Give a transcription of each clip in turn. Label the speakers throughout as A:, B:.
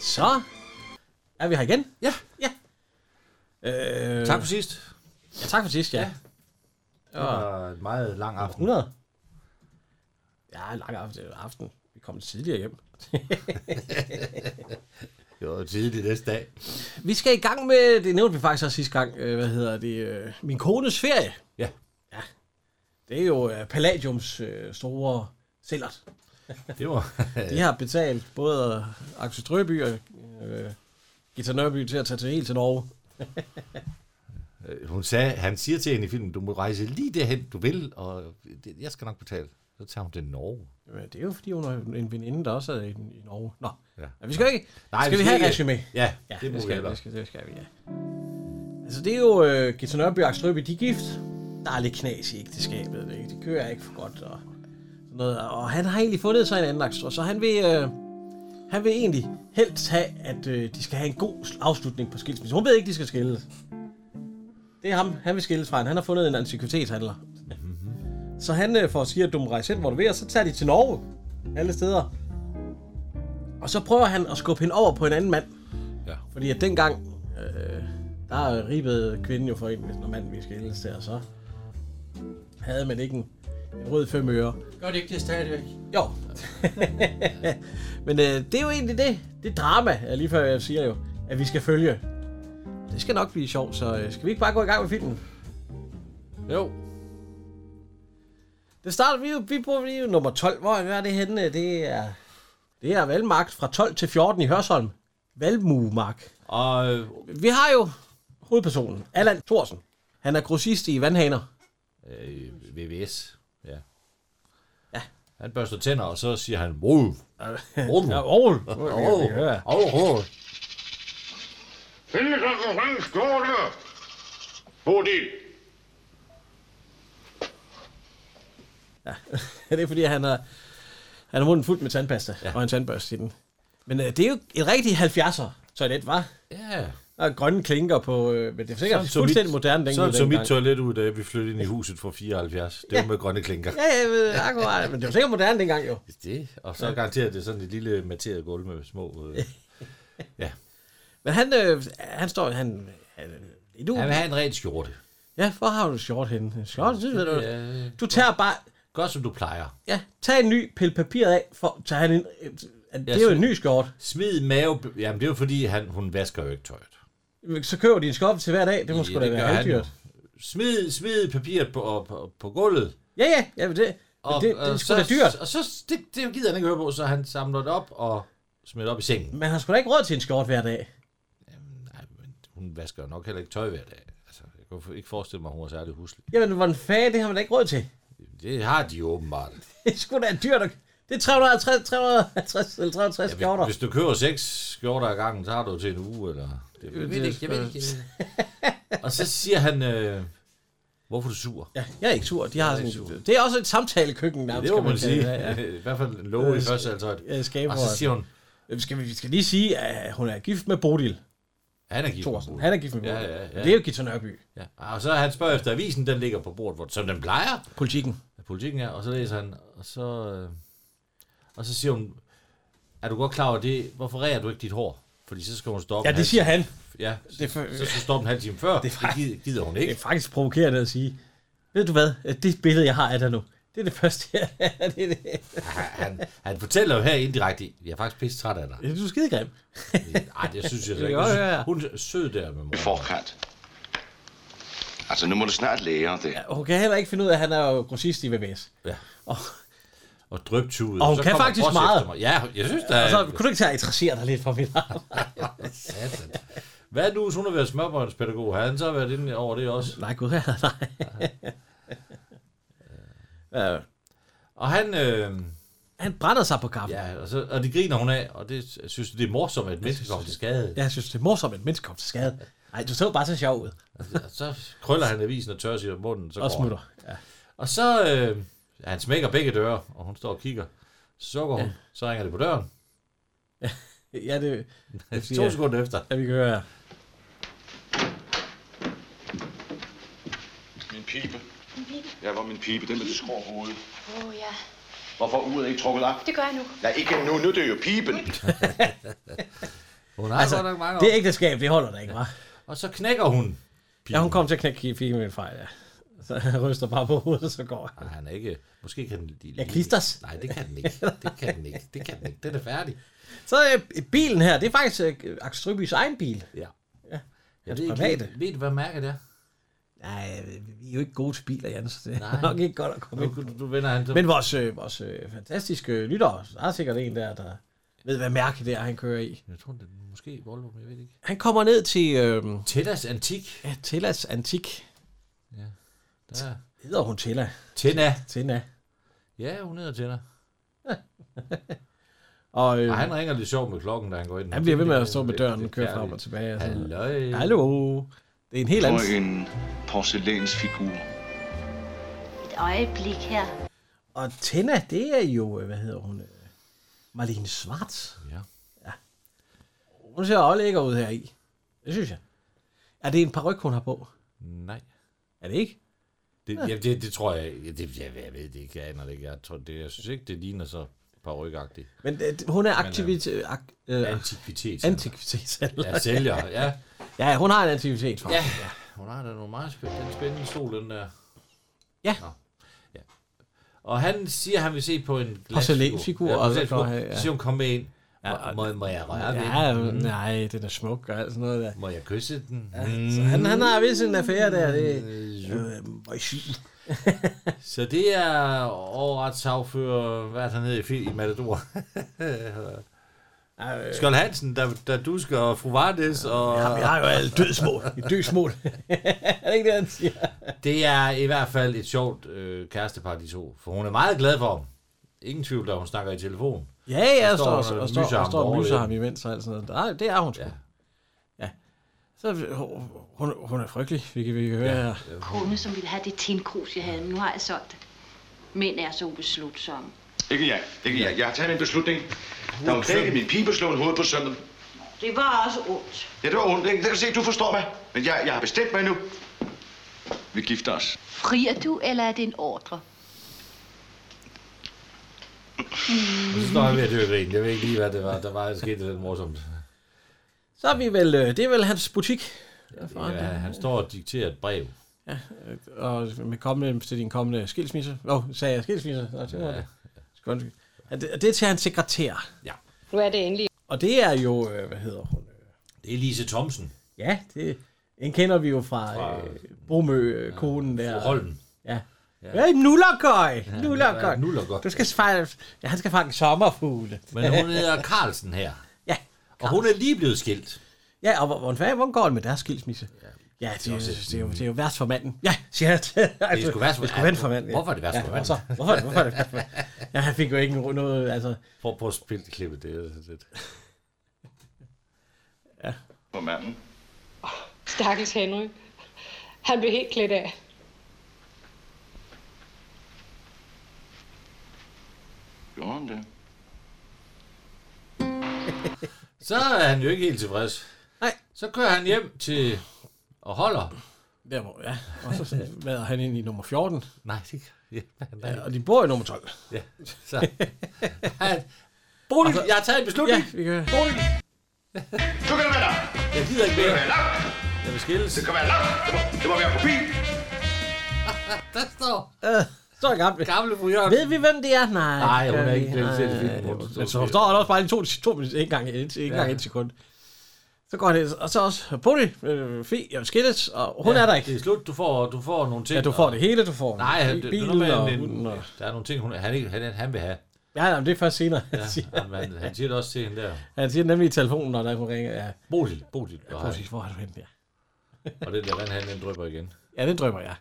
A: Så er vi her igen.
B: Ja,
A: Ja. Øh,
B: tak for sidst.
A: Ja, tak for sidst, ja.
B: Det var en meget lang aften.
A: 100. Ja, lang aften. aften. Vi kom tidligere hjem.
B: Det var tidligt næste dag.
A: Vi skal i gang med, det nævnte vi faktisk også sidste gang, øh, hvad hedder det, øh, min kones ferie.
B: Ja.
A: Det er jo øh, Palladiums øh, store cellert.
B: Det var...
A: De har betalt både Axel Strøby og øh, Gita Nørby til at tage til helt til Norge.
B: Øh, Hun sagde, han siger til hende i filmen, du må rejse lige derhen, du vil, og det- jeg skal nok betale. Så tager hun til Norge.
A: Jamen, Øh, det er jo fordi, hun er en veninde, der også er i, i Norge. Nå,
B: Ja.
A: Men vi skal jo ikke.
B: Nej,
A: skal vi,
B: vi
A: have
B: skal
A: et
B: ikke.
A: resume?
B: Ja,
A: Ja,
B: det må
A: det,
B: vi
A: skal,
B: hellere.
A: det, skal, det skal vi, ja. Altså, det er jo øh, Gita Nørby og Axel Strøby, de er gift. Der er lidt knas i ægteskabet, det, det kører ikke for godt. Og, sådan noget. og han har egentlig fundet sig en anden Axel, Strøby, så han vil, øh, han vil egentlig helst have, at øh, de skal have en god sl- afslutning på skilsmissen. Hun ved ikke, de skal skilles. Det er ham, han vil skilles fra hende. Han har fundet en antikvitetshandler.
B: Mhm.
A: Så han øh, får at sige, at du må rejse hen, hvor du vil, og så tager de til Norge. Alle steder. Og så prøver han at skubbe hende over på en anden mand.
B: Ja.
A: Fordi at dengang, øh, der ribede kvinden jo for en, hvis når manden ville skilles der, så havde man ikke en, en rød fem øre.
C: Gør det ikke det stadigvæk?
A: Jo. Men øh, det er jo egentlig det. Det drama, er lige før jeg siger jo, at vi skal følge. Det skal nok blive sjovt, så øh, skal vi ikke bare gå i gang med filmen?
C: Jo.
A: Det starter vi jo, vi bruger lige nummer 12. Hvor er det henne? Det er, det er Valmark fra 12 til 14 i Hørsholm. Valmuemark.
B: Og øh,
A: Vi har jo hovedpersonen, Allan Thorsen. Han er grossist i vandhaner.
B: øh, VVS, ja.
A: Ja.
B: Han børster tænder, og så siger han, wow, wow,
A: Ja,
B: wow,
A: Aarhus.
B: wow, wow.
D: Finde sådan en lang skåle. Bodil.
A: Det er fordi, han har, han har munden fuldt med tandpasta ja. og en tandbørste i den. Men øh, det er jo et rigtigt 70'er toilet, var.
B: Ja,
A: Der er grønne klinker på, øh, men det er sikkert
B: som
A: fuldstændig
B: mit-
A: moderne dengang.
B: sådan som mit
A: dengang.
B: toilet ud, da vi flyttede ind i huset fra 74. Det var med grønne klinker.
A: Ja, ja, men, akkurat. Men det var sikkert moderne dengang jo.
B: Det, og så garanteret det er sådan et lille materet gulv med små... Øh, ja.
A: Men han, øh, han står, han, han øh, du,
B: Han vil have en ren skjorte.
A: ja, hvor har du short henne? Short, synes jeg, du,
B: Øh,
A: du tager bare,
B: gør som du plejer.
A: ja, tag en ny, pille papiret af, for, tager han en, øh, det er jo
B: synes-
A: en ny skjort.
B: Smid mave... Jamen, det er jo fordi, han, hun vasker jo ikke tøjet.
A: Så køber de en skop til hver dag, det må sgu da
B: det gør
A: være
B: han
A: halvdyrt.
B: jo. Smid, smid papiret på, på, på gulvet.
A: Ja, ja, ja, men det, og, det, det er sgu
B: øh, så,
A: da dyrt.
B: Og så, det, det gider han ikke høre på, så han samler det op og smider det op i sengen.
A: Man har sgu da ikke råd til en skjort hver dag.
B: Nej, men hun vasker jo nok heller ikke tøj hver dag. Altså, jeg kan jo ikke forestille mig, at hun er særlig huslig.
A: Jamen, hvordan fanden, det har man da ikke råd til.
B: Det har de jo åbenbart.
A: Det er sgu da dyrt. at- Det er 350, 350, eller 360 skjorter.
B: Hvis, hvis du køber seks skjorter ad gangen, så har du til en uge, eller... Det,
C: Jeg ved ikke, jeg ved ikke.
B: Og så siger han, øh, hvorfor er du sur?
A: Ja, jeg er ikke sur. De har sådan, det er også et samtalekøkken, nærmest.
B: Det må
A: kan
B: man sige.
A: kalde det. Ja, Øh,
B: I hvert fald en love i første halvtøjt.
A: ja. Skaber, Øh,
B: Og så siger hun,
A: skal vi, vi skal lige sige, at hun er gift med Bodil
B: han er gift.
A: Thorsen. Han er gift med
B: Ja,
A: Bodil.
B: ja, ja.
A: Men Det er jo Gita Nørby.
B: Ja. Og så han spørger efter avisen, den ligger på bordet, hvor, som den plejer.
A: Politikken.
B: Af politikken er, og så læser han, og så, øh, og så siger hun, er du godt klar over det, hvorfor rærer du ikke dit hår? Fordi så skal hun stoppe.
A: Ja,
B: en
A: det
B: halv
A: siger han.
B: time- Ja,
A: Det er for-
B: så, så skal hun stoppe en halv time før. Det, gider, gider hun
A: Det
B: ikke.
A: er faktisk provokerende at sige. Ved du hvad? Det billede, jeg har af dig nu, det er det første, jeg det er det.
B: Han, han fortæller jo her indirekte, jeg er faktisk pisse træt af dig.
A: Du er skidegrim.
B: Nej, det synes jeg så
A: kan
B: ikke.
A: godt
B: Jeg
A: høre, ja.
B: synes, hun er sød der med mor.
D: Forkat. Altså, nu må du snart lære det.
A: Og Hun kan heller ikke finde ud af, at han er jo grossist i VVS.
B: Ja.
A: Og,
B: og drøbtude.
A: Og hun kan
B: kommer
A: faktisk
B: Boss
A: meget.
B: efter mig. Ja, jeg synes, der
A: og
B: er...
A: så kunne du ikke tage at interessere dig lidt for mit arbejde?
B: Satan. Hvad nu, hvis hun har været smørbåndspædagog? Har han så været inde over det også?
A: Nej, gud, nej. nej.
B: Og han, øh,
A: Øh, han brænder sig på kaffen. Ja.
B: ja, og, så, og det griner hun af, og det synes det er morsomt, at et menneske kommer til skade.
A: Jeg synes, det er morsomt, at et menneske kommer til skade. Nej, du så bare så sjov ud.
B: Og Altså, så krøller han avisen og tørrer sig om munden, så
A: Og
B: går han.
A: smutter. Ja.
B: Og så, øh, ja, han smækker begge døre, og hun står og kigger. Så går hun, ja. så ringer det på døren.
A: Ja, det, det
B: To
A: siger,
B: sekunder efter.
A: ja, vi kan høre.
D: Min pibe. Ja, hvor er min pibe, den med det skrå hoved.
E: Åh, oh, ja.
D: Hvorfor er uret ikke trukket op?
E: Det gør jeg nu.
D: Nej, ikke nu, nu er det jo piben.
B: Hun har
A: Altså,
B: altså, godt nok mange
A: Det
B: år.
A: ægteskab, det holder der ikke, hva'?
B: Og så knækker hun.
A: Ja, hun kom til at knække fik med en fejl, ja. Så jeg ryster bare på hovedet, og så går jeg.
B: Nej, han er ikke... Måske kan den lige...
A: Jeg klisters.
B: Nej, det kan den ikke. Det kan den ikke. Det kan den ikke. Den er færdig.
A: Så øh, bilen her, det er faktisk øh, Axel Strøbys egen bil.
B: Ja.
A: Ja,
B: Jeg
A: det
B: ved,
A: er
B: ikke,
A: private.
B: lige- ved du, hvad mærket er?
A: Nej, vi er jo ikke gode til biler, Jens. så Det er
B: Nej.
A: nok ikke godt at komme ind.
B: Nu, nu vender han så.
A: Men vores, øh, vores øh, fantastiske lyttere, der er sikkert en der, der ved, hvad mærke det er, han kører i.
B: Jeg tror, det er måske Volvo, men jeg ved det ikke.
A: Han kommer ned til øh,
B: Tennas Antik.
A: ja, Tellas Antik.
B: Der er.
A: Hedder hun Tella?
B: Tenna.
A: Tina.
B: Ja, hun hedder Tenna.
A: Og øh,
B: Og
A: han,
B: han ringer lidt sjovt med klokken, da han går ind.
A: han bliver ved med
B: Det
A: at stå
B: er-
A: med døren og
B: det er
A: køre frem
B: færdigt.
A: og tilbage. Og sådan.
B: Hallo.
A: Hallo. Det er en helt
D: Og
A: anden...
D: en porcelænsfigur.
E: Et øjeblik her.
A: Og Tina, det er jo, øh, hvad hedder hun? øh, Marlene Schwartz.
B: Ja.
A: Hun ser også lækker ud her i. Det synes jeg. Er det en paryk, hun har på?
B: Nej.
A: Er det ikke?
B: Det, ja. jamen, det, det tror jeg, ja, det, jeg, jeg ved det ikke, jeg aner det ikke. Jeg, tror, det, jeg synes ikke, det ligner så parrykagtigt.
A: Men øh, hun er aktivit... Øh, ak, øh,
B: Antikvitet.
A: antikvitetshandler.
B: Ja, sælger, ja.
A: Ja, hun har en antikvitet for.
B: Ja, hun har da nogle meget spændende, den spændende stol, den der.
A: Ja.
B: Nå. ja. Og han siger, at han vil se på en glasfigur.
A: Porcelænsfigur,
B: Ja,
A: og så
B: porcelænsfigur.
A: går han- ja.
B: Så siger hun, kom med ind.
A: Ja,
B: Ja, må, må jeg røre ved
A: Ja,
B: den?
A: øh, nej, den er smuk og alt sådan noget der.
B: Må jeg kysse den? Mm.
A: Så han, han har vist en affære der. Det, øh, møjsy.
B: Så det er overretssagfører, hvad er det, han hed i, fil- i Matador.
A: Øh,
B: Skjold Hansen, der, der dusker, og fru Vardes, og...
A: jeg har jo alt dødsmål. Et dødsmål. er det ikke det, han siger?
B: Det er i hvert fald et sjovt øh, kærestepar, de to. For hun er meget glad for ham. Ingen tvivl, da hun snakker i telefon.
A: Ja, ja, og står, og
B: Og står
A: står, og står,
B: og myser
A: og
B: ham
A: står og
B: over
A: myser
B: lidt.
A: ham imens og alt sådan noget. Nej, det er hun sgu. Ja.
B: Ja.
A: ja. Så hun- hun, hun er frygtelig, vi kan, vi kan høre ja. her.
E: Kone, som ville have det tinkrus, jeg havde, men nu har jeg solgt det. Mænd er så ubeslutsomme.
D: Ikke jeg, ikke jeg. Jeg har taget min beslutning. Der var knækket min pibe slå en hoved på sømmet.
E: Det var også ondt.
D: Ja, det var ondt, ikke? Det kan du se, du forstår mig. Men jeg, jeg har bestemt mig nu. Vi gifter os.
E: Frier du, eller er det en ordre?
B: Så står jeg ved at dø af grin. Jeg ved ikke lige, hvad det var. Der var sket lidt morsomt.
A: Så er vi vel, øh, det er vel hans butik. Derfor,
B: Ja,
A: ja.
B: han står og dikterer et brev.
A: Og med kommende, til din kommende skilsmisse. Åh, oh, sagde jeg skilsmisse? Nå, det var
B: Ja.
A: det. Skal undskylde. Ja, det. Og det er til hans sekretær.
B: Ja.
F: Nu er det endelig
A: Og det er jo, øh, hvad hedder hun?
B: Det er Lise Thomsen
A: Ja, det en kender vi jo fra,
B: Fra-
A: øh, Bromø-konen
B: fra
A: der.
B: Holmen.
A: Ja. Ja, ja nullerkøj.
B: Ja,
A: Nullerkøj.
B: Nullergøj.
A: Du skal fange, ja, han skal fange sommerfugle.
B: Men hun hedder Carlsen her.
A: Ja,
B: Og hun er lige blevet skilt.
A: Ja, og hvor- hvordan fanden- hvordan går det med deres skilsmisse? Ja, det, er, jo, det, er jo, det er jo værst for manden. Ja, siger jeg.
B: Det skulle være for,
A: Det skulle være for manden. ja.
B: Hvorfor er det værst
A: ja,
B: for
A: Hvorfor,
B: manden?
A: hvorfor, er det- hvorfor er det værst for manden? Ja, han fik jo ikke noget, altså...
B: Prøv, prøv at spille klippet. Det er lidt.
D: For manden.
F: stakkels Henry. Han blev helt klædt af.
D: Gjorde han det?
B: Så er han jo ikke helt tilfreds.
A: Nej.
B: Så kører han hjem til... Og holder.
A: Der hvor, ja. Og så vader han ind i nummer 14,
B: Nej, det ja, nej.
A: og de bor i nummer 12.
B: Ja. Så. Han, Bolig, jeg har taget
A: Ja,
B: en beslutning.
A: vi kan...
B: Bolig,
D: Du kan være langt.
B: jeg gider ikke
D: Du
B: mere.
D: kan være langt.
B: Jeg vil skilles.
D: Du kan være langt. Det må, det må være forbi.
B: Der står
A: Så er gammel.
B: gamle fru Jørgen.
A: Ved vi, hvem det er? Nej,
B: Nej,
A: det
B: hun
A: gør
B: er
A: vi
B: ikke blevet selv i filmen.
A: Nej,
B: Hun
A: det-
B: stod
A: Men så
B: stille.
A: står han også bare i to, to minutter, ikke engang et, ikke engang
B: Ja.
A: et sekund. Så går det, og så også Pony, øh, Fie, jeg vil skilles, og hun ja, er der ikke.
B: Det er slut. Du får, du får nogle ting.
A: Ja, du får det hele, du får
B: Nej,
A: en
B: han, det,
A: bil
B: det, det,
A: og
B: det,
A: hunden og...
B: der er nogle ting, hun, han, ikke, han, han vil have.
A: Ja, ja, men det er først senere.
B: Ja,
A: Ja. Siger.
B: han, han, han siger det også til hende der.
A: Han siger nemlig i telefonen, når der hun ringer. Ja,
B: Bodil, Bodil. Og,
A: præcis, hvor er du henne? Ja.
B: og den der vandhand, den drypper igen.
A: ja, det drømmer jeg.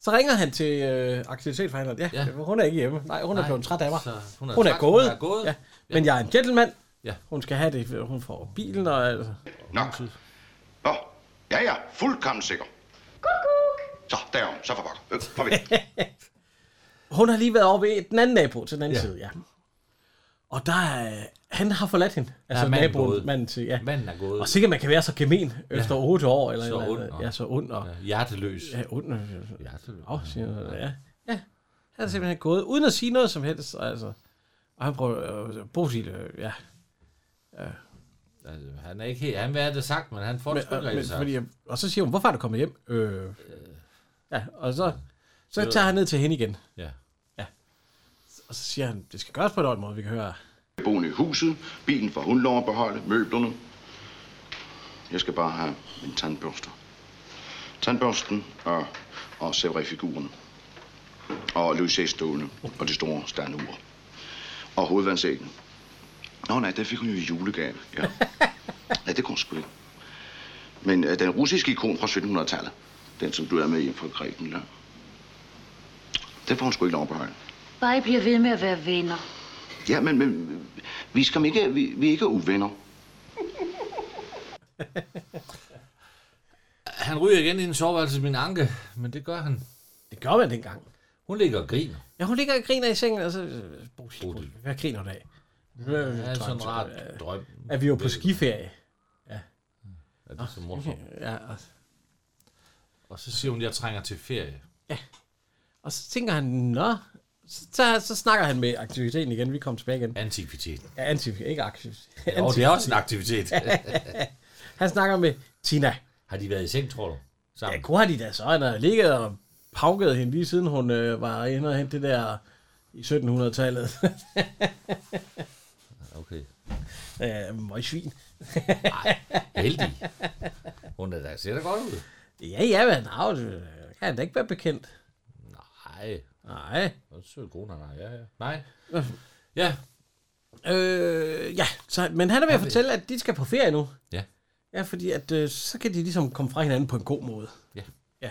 A: Så ringer han til øh, aktivitetsforhandleren. Ja, ja,
B: Ja.
A: hun er ikke hjemme. Nej, hun er blevet træt af mig.
B: Så hun er,
A: Hun er
B: træt,
A: gået.
B: Hun er gået.
A: Ja. Men jeg er en gentleman.
B: Ja.
A: Hun skal have det. Hun får bilen og... Altså.
D: Nok. Nå, ja ja, fuldkommen sikker. Så, derom, så for pokker. Øh, farvel.
A: Hun har lige været over ved den anden nabo til den anden ja.
B: Ja.
A: side, ja. Og der er... Han har forladt hende. Altså ja,
B: manden
A: naboen,
B: gået.
A: manden til, ja.
B: Manden er gået.
A: Og sikkert man kan være så gemen efter 8 år. Eller
B: Så
A: et eller andet.
B: ond og-
A: Ja, så ond og...
B: Ja, hjerteløs.
A: Ja, ond.
B: Hjerteløs.
A: Åh, siger han. Ja. ja. Han er simpelthen gået, uden at sige noget som helst. Altså. Og han prøver... Øh, Bosil, øh, ja.
B: Altså, han er ikke helt... Han vil have det sagt, men han får det
A: Men,
B: sgu
A: og,
B: ikke
A: men,
B: rigtig sagt.
A: fordi, jeg- og så siger hun, hvorfor er du kommet hjem? Øh, ja, og så, så tager han ned til hende igen.
B: Ja.
A: Og så siger han, det skal gøres på en ordentlig måde, vi kan høre.
D: Boende i huset, bilen får hun lov at beholde, møblerne. Jeg skal bare have min tandbørste. Tandbørsten og, og figurerne Og lyserstålene og det store standur. Og hovedvandsækken. Nå nej, det fik hun jo i julegave. Ja. Nej, det kunne hun sgu ikke. Men øh, den russiske ikon fra 1700-tallet, den som du er med hjem fra Grækenland, den får hun sgu ikke lov at beholde.
E: Bare I bliver ved med at være venner.
D: Ja, men, men vi, skal ikke, vi, vi er ikke uvenner.
B: Han ryger igen i en soveværelse min anke, men det gør han.
A: Det gør man dengang.
B: Hun ligger og griner.
A: Ja, hun ligger og griner i sengen, og så... øh, Bosil,
B: Bodil.
A: Bosil, Hvad griner du af? Øh,
B: Det er
A: drøm,
B: sådan en
A: så-
B: rart
A: øh,
B: drøm.
A: Er vi jo på skiferie?
B: Er det så morsomt?
A: Ja, og,
B: Og så siger hun, jeg trænger til ferie.
A: og så tænker han, nå... Så, tager, så snakker han med aktiviteten igen, vi kommer tilbage igen.
B: Antikvitet.
A: Ja, antiv, ikke aktiv.
B: Og det er også en aktivitet.
A: Han snakker med Tina.
B: Har de været i seng, tror du?
A: Ja,
B: Sammen?
A: kunne har de da så. Han har ligget og pauket hende lige siden hun øh, var inde og hente det der i 1700-tallet.
B: Okay.
A: øh, møgsvin.
B: Heldig. Hun er da, ser da godt ud.
A: Ja, ja, men nej, det kan han da ikke være bekendt.
B: Nej.
A: Nej.
B: Hvor sød kone han er. Ja, ja. Nej. Ja.
A: Øh, ja, så, men han er ved at fortælle, at de skal på ferie nu.
B: Ja.
A: Ja, fordi at, øh, så kan de ligesom komme fra hinanden på en god måde.
B: Ja.
A: Ja.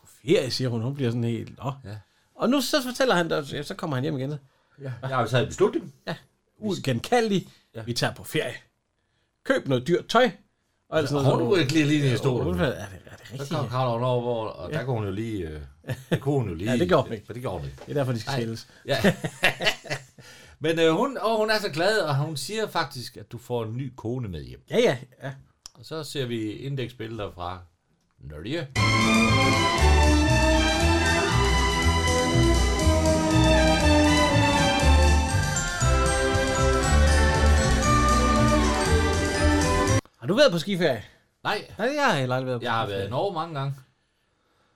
A: På ferie, siger hun. Hun bliver sådan helt... Nå.
B: Ja.
A: Og nu så fortæller han, at ja, så kommer han hjem igen.
B: Jeg har jo taget en beslutning.
A: Uigenkaldelig. Ja.
B: Ja.
A: Vi tager på ferie. Køb noget dyrt tøj. Og alt sådan
B: Har du ikke lige lige i
A: Hun-
B: stolen?
A: Er det, er det
B: Så
A: rigtigt?
B: kom Karl over, hvor, og der kunne hun jo lige... Øh, det kunne hun jo lige.
A: Ja, det gjorde hun ikke.
B: Men det gjorde hun ikke.
A: Det er derfor, de skal
B: Nej.
A: skilles.
B: Ja. Men øh, hun, og hun er så glad, og hun siger faktisk, at du får en ny kone med hjem.
A: Ja, ja, ja.
B: Og så ser vi indeksbilleder fra Norge.
A: Har du været på skiferie?
B: Nej,
A: Nej, jeg har heller aldrig været på
B: jeg har været
A: skiferie.
B: i Norge mange gange.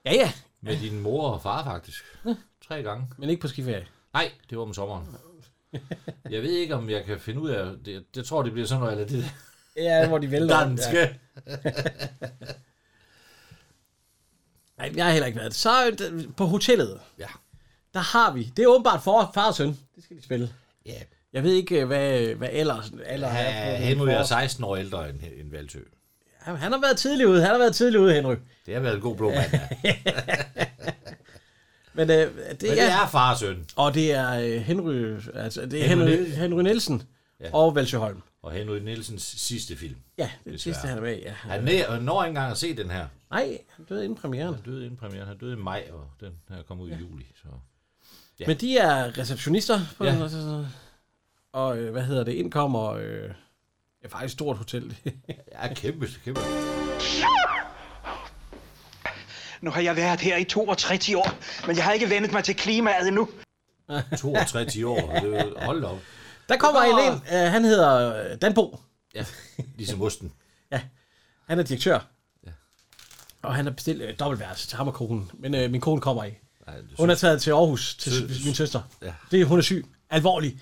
A: Ja, ja,
B: Med din mor og far, faktisk. Tre gange.
A: men ikke på skiferie.
B: Nej, det var om sommeren. Jeg ved ikke, om jeg kan finde ud af... Det, jeg tror, det bliver sådan noget, eller det
A: Ja, hvor de vælter. rundt,
B: danske.
A: Ja. Nej, jeg har heller ikke været. Så øh, på hotellet,
B: Ja.
A: der har vi. Det er åbenbart for far og søn. Det skal de spille.
B: ja.
A: Jeg ved ikke, øh, hvad, øh, hvad ellers. Eller
B: ja Henry er 16 år ældre end, end Valsø.
A: Han, han har været tidlig ude. Han har været tidlig ude, Henry.
B: Det har været en god blå mand. Ja.
A: Men øh, det,
B: Men
A: er...
B: det er far og søn.
A: Og det er øh, Henry, altså, det er Henry,
B: Henry
A: Henry,
B: Nielsen.
A: Nielsen ja.
B: Ja.
A: og Valsø Holm.
B: Og Henry Nielsens sidste film.
A: Ja, det er det
B: Desværre.
A: sidste, han er med. i, Ja.
B: Han nær- når ikke engang at se den her.
A: Nej, han døde inden premieren.
B: Han døde inden premieren. Han døde i maj, og den her kom ud i juli. Så.
A: Ja. Men de er receptionister. På
B: Ja.
A: ja. den, og øh, hvad hedder det? Indkommer... Øh, ja, faktisk et stort hotel.
B: Ja, kæmpe, kæmpe.
G: Nu har jeg været her i 62 år, men jeg har ikke vendet mig til klimaet endnu.
B: 62 år. Det er jo- Hold da op.
A: Der kommer
B: Nå.
A: en ind. Øh, han hedder øh, Danbo.
B: Ja, ligesom osten.
A: Han er direktør. Ja. Og han har bestilt øh, dobbeltværelse til ham og konen. Men øh, min kone kommer ikke.
B: Nej, det
A: Hun er taget til Aarhus til
B: Sø-
A: s- min søster.
B: Ja.
A: Det, hun er syg. Alvorlig.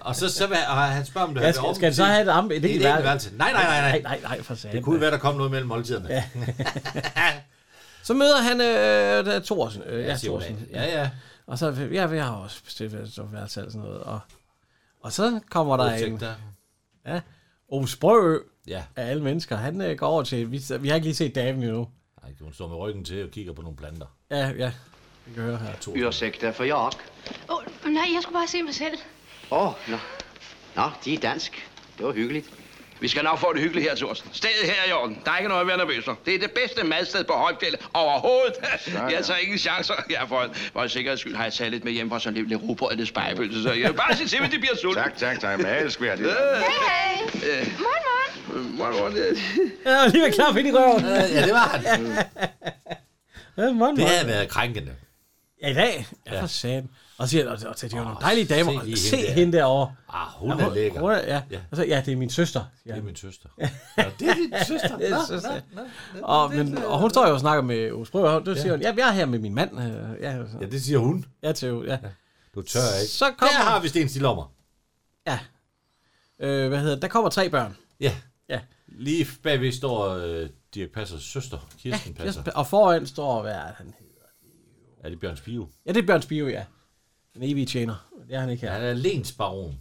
B: Og så, så vil, og han spørger, om det
A: Ja, skal, skal han så have et, am- et,
B: det er
A: et,
B: et
A: et
B: enkelt værelse? Nej, nej, nej, nej.
A: Nej, nej, nej, for satan.
B: Det kunne jo være, der kom noget mellem måltiderne. Ja,
A: Så møder han øh, der er Thorsen. Øh, ja,
B: siger hun.
A: Thorsen.
B: Ja, ja.
A: Og så, ja, jeg har også bestilt værelse og sådan noget. Og, og så kommer der en,
B: Udsigter.
A: ja, Ove Sprøø
B: Ja,
A: af alle mennesker. Han øh, går over til, vi, vi har ikke lige set Daven endnu.
B: Ej, hun står med ryggen til og kigger på nogle planter.
A: Ja, ja, vi kan høre her.
B: To.
H: Ursäkta, får jag?
E: Åh, oh, nej, jeg skulle bare se mig selv.
H: Åh, nå. Nå, de är dansk. Det var hyggeligt.
D: Vi skal nok få det hyggeligt her, Thorsten. Stedet her er i orden. Der er ikke noget at være nervøs for. Det er det bedste madsted på Højfjellet overhovedet.
H: ja.
D: Jeg tager ingen chancer. Jeg for, for en sikkerheds skyld har jeg taget lidt med hjem fra sådan lidt, lidt rugbrød og lidt spejepølse. Så jeg vil bare sige til, at de bliver sultne.
H: Tack, tack, tack. Men älsk vi
E: Hej,
H: det.
E: hej. Morgen, morgen.
D: Morgen, morgen.
A: Ja, og lige ved knap ind i røven.
B: Ja, det var han.
A: Ja, morgen,
B: Det
A: morgen.
B: havde været krænkende.
A: Ja, i dag. Ja, for satan. Og siger, og, og til de nogle
B: Åh,
A: dejlige damer.
B: se lige
A: Se
B: hende der.
A: hende derovre.
B: Ah, hun er lækker.
A: Hun er- Ja.
B: Ja.
A: Og så, ja, det er min søster. Ja,
B: Det er min søster. Ja, det er din søster.
A: det er
B: Nå,
A: søster.
B: nå.
A: og, men, og
B: øh,
A: hun står jo og snakker med Ove Sprøø, og så siger hun, ja, jeg er her med min mand. øh, Ja, og så-
B: Ja, det siger hun.
A: ja til Ove, ja.
B: Du tør ikke.
A: Så kommer-
B: Der har vi Sten Stilommer.
A: ja. Øh, hvad hedder det? Der kommer tre børn.
B: Ja.
A: Ja.
B: Lige bagved står øh, Dirk Passers søster, Kirsten Passer.
A: Og foran står, hvad er det, han hedder?
B: Er det Bjørn Spio?
A: Ja, det er Bjørn Spio, ja. Den evige tjener. Det er han ikke her.
B: Han er lensbaron.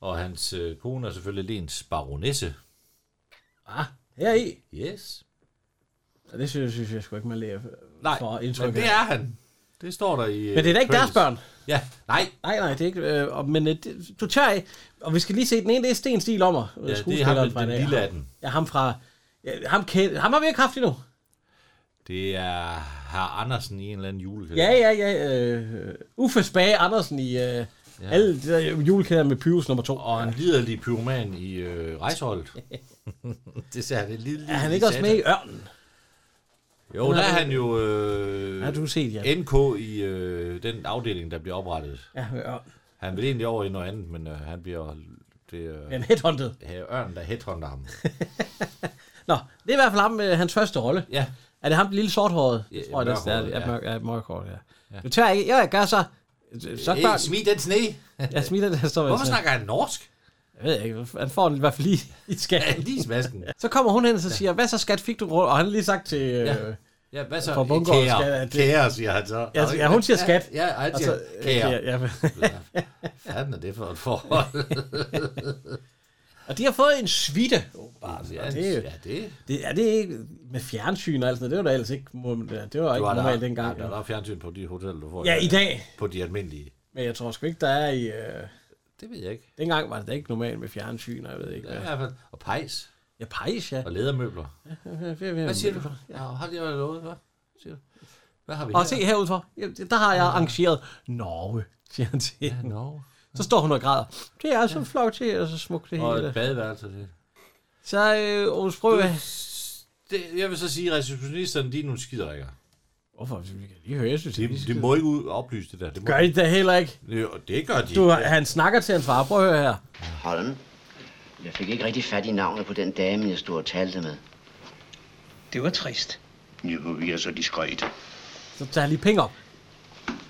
B: Og hans øh, kone er selvfølgelig lensbaronesse.
A: Ah, Her i.
B: Yes.
A: Og det synes, synes jeg sgu ikke, man lærer
B: Nej,
A: for indtryk
B: men det
A: af.
B: er han. Det står der i... øh,
A: Men det er da ikke deres
B: credits.
A: børn.
B: Ja, nej.
A: Nej, nej, det er ikke... Øh, og- men øh, det, du tør ikke... Og vi skal lige se, den ene, det er Sten Stil om mig.
B: Ja, det er ham med den lille af den.
A: Ja, ham fra... Ja, ham, kend, ham har vi ikke haft endnu.
B: Det er herr Andersen i en eller anden julekalender.
A: Ja, ja, ja. Øh, Uffe Spage Andersen i øh, ja. alle de der julekæder med Pyrus nummer to.
B: Og en liderlig pyroman i øh, Rejsholdt. det ser han en lille, lille
A: Er han ikke også med i Ørnen?
B: Jo, der er han jo øh,
A: Ja, du har set, ja.
B: NK i øh, den afdeling, der bliver oprettet.
A: Ja, med Ørnen.
B: Han vil egentlig over i noget andet, men øh, han bliver... Det øh,
A: En headhunted.
B: er ørnen, der headhunter ham.
A: Nå, det er i hvert fald ham, øh, hans første rolle.
B: ja,
A: Er det ham, den lille sorthårede?
B: Ja,
A: Ja, tror jeg, det er,
B: mørkhåret,
A: ja,
B: ja.
A: mørk, ja, mørkhåret, ja. ja. Du tør ikke, jo, jeg gør så. Så
B: hey,
A: børn, Altså.
B: smid den sne.
A: jeg smiler, der står
B: Hvorfor
A: jeg
B: snakker han norsk?
A: Jeg ved ikke, han får den i hvert fald lige i
B: Ja,
A: skat.
B: lige smasken.
A: Så kommer hun hen og så siger, hvad så skat, fik du råd? Og han har lige sagt til... Øh, ja.
B: Ja, hvad så?
A: Fra Bundgaard
B: Kære,
A: skal- det-
B: kære, siger han så.
A: Ja, ja, hun siger skat.
B: Ja, ja han siger kære.
A: altså, ja, ja.
B: Hvad fanden er det for et forhold?
A: Og de har fået en svitte, åbenbart.
B: ja,
A: Ja, det,
B: ja, det
A: det, er det ikke med fjernsyn og alt sådan noget? Det var da ellers ikke, må- det var ikke normalt dengang.
B: Ja,
A: Ja,
B: der er fjernsyn på de hoteller, du får.
A: ja, i dag.
B: På de almindelige.
A: Men jeg tror sgu ikke, der er i... Øh,
B: Det ved jeg ikke.
A: dengang var det da ikke normalt med fjernsyn, og jeg ved ikke
B: Ja. I
A: hvad.
B: hvert fald. Og pejs
A: Ja, pejs, ja.
B: og lædermøbler. Hvad siger du? Ja, har de været lovet, hvad? Siger du? Hvad har vi
A: Og se herude for, ja, der har jeg arrangeret Norge, siger han til
B: Ah. Ja,
A: hende.
B: Norge.
A: Så står hun og græder. Det er så flot til, og så smukt det
B: Og et
A: hele.
B: badeværelse til.
A: Så øh, Ole Sprøve...
B: Det, jeg vil så sige, at receptionisterne, de er nogle skiderikker.
A: Hvorfor? Vi kan lige høre, jeg synes,
B: De, de må ikke ud- oplyse det der. Det må,
A: Gør I da heller ikke.
B: Jo, det gør de.
A: Du,
B: ikke.
A: han snakker til hans far. Prøv at høre her.
H: Holm. Jeg fik ikke rigtig fat i navnet på den dame, jeg stod og talte med.
G: Det var trist.
D: Jo, vi er så diskret.
A: Så tager han lige penge op.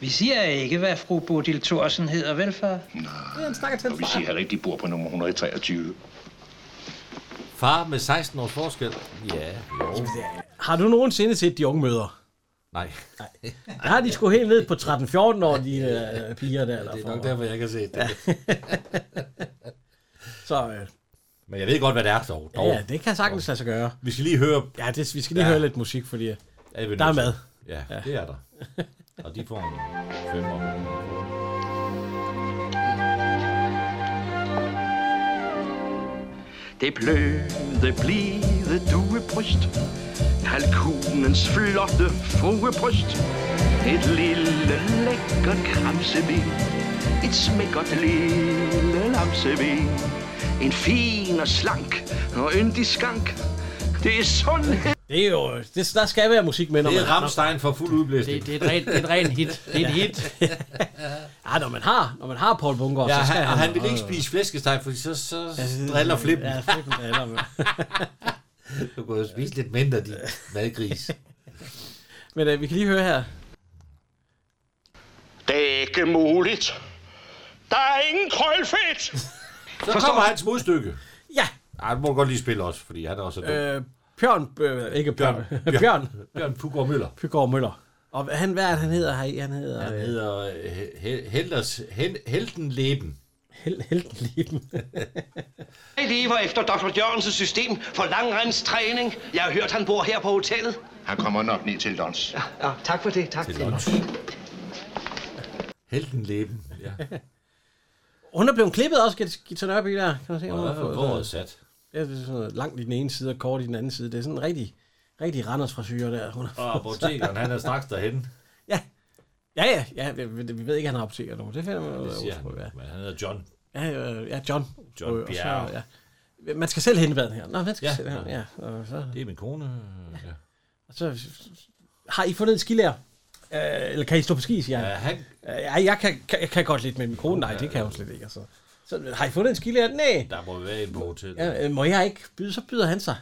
G: Vi siger ikke, hvad fru Bodil Thorsen hedder, vel, far?
A: Ja, han snakker til
D: Og
A: hans
D: vi siger
A: far.
D: heller ikke, de bor på nummer 123.
B: Far med 16 års forskel. Ja, jo.
A: Har du nogensinde set de unge møder?
B: Nej,
A: Der har de sgu helt ned på 13-14 år, de øh, piger der. Eller
B: det er nok
A: for.
B: derfor, jeg kan se det.
A: Så øh,
B: Men jeg ved godt, hvad det er, dog.
A: ja,
B: dog.
A: ja, det kan sagtens lade sig gøre.
B: Vi skal lige høre...
A: Ja, det, vi skal lige
B: Ja.
A: høre lidt musik, fordi... øh, at-
B: Er vi
A: Der er
B: nødt til?
A: mad.
B: Ja, det er der. Og de får en femmer.
D: Det bløde, blide duebryst. Kalkunens flotte fruebryst. Et lille, lækkert kramseben. Et smækkert lille lamseben. En fin og slank og yndig skank. Det er sundhed.
A: Det er jo... øh, Det, der skal være musik med, når
B: Det
A: man...
B: er Ramstein for fuld
C: Det,
B: udblæsning.
C: det, er et ren, det er et ren hit. Det er et hit.
A: Ja, når man har, når man har Paul Bunker,
B: Ja,
A: så skal
B: han, og
A: han...
B: han vil ikke spise flæskesteg, for så, så driller flippen.
A: Ja, flippen driller, men.
B: Du kan jo spise lidt mindre, din madgris.
A: Men øh, vi kan lige høre her.
D: Det er ikke muligt. Der er ingen krølfedt.
B: Så kommer hans modstykke.
A: Ja,
B: Ej, du må godt lige spille også, fordi han er også dum.
A: øh, Bjørn... Øh, ikke Bjørn.
B: Bjørn.
A: Bjørn.
B: Bjørn Pugård Møller.
A: Bygård Møller. Og han, hvad er det, han hedder her i? Han hedder...
B: Han
A: Han hedder.
B: hedder øh, Hel- Helders, Hel- Helden Leben.
A: Hel, helten Leben.
G: Jeg lever efter Dr. Jørgensens system for langrendstræning. Jeg har hørt, han bor her på hotellet.
D: Han kommer nok ned til Dons.
G: Ja, tak for det. Tak.
B: Helden Leben, ja.
A: Hun er blevet klippet også, Git- Gita Nørby, der. Kan man se, hun har fået,
B: Hvor er sat?
A: ja, det er sådan noget langt i den ene side og kort i den anden side. Det er sådan en rigtig, rigtig Randers frisyr der. Hun har
B: Og apotekeren, han er straks derhen.
A: Ja, ja, ja, vi, vi- vi ved ikke, at han har apoteker nu. Det finder man ud
B: Det siger
A: af.
B: han.
A: på, ja.
B: Men han hedder John.
A: Ja, øh, ja, John.
B: John
A: Øh, og så,
B: Bjerre.
A: ja. Man skal selv hente maden her. Nå, man skal ja,
B: Ja,
A: selv hente, ja.
B: ja.
A: Og så,
B: Det er min kone. øh, Ja.
A: og så har I fundet en skilærer? Øh, eller kan I stå på ski, siger han.
B: Ja, han,
A: Øh, Ja, jeg kan, kan, jeg kan godt lidt med min kone. Nej, det kan jeg jo slet ikke. Altså. Så har I fundet en skilærer? Nej.
B: der må være en på hotellet.
A: Ja, øh, må jeg ikke byde, så byder han sig.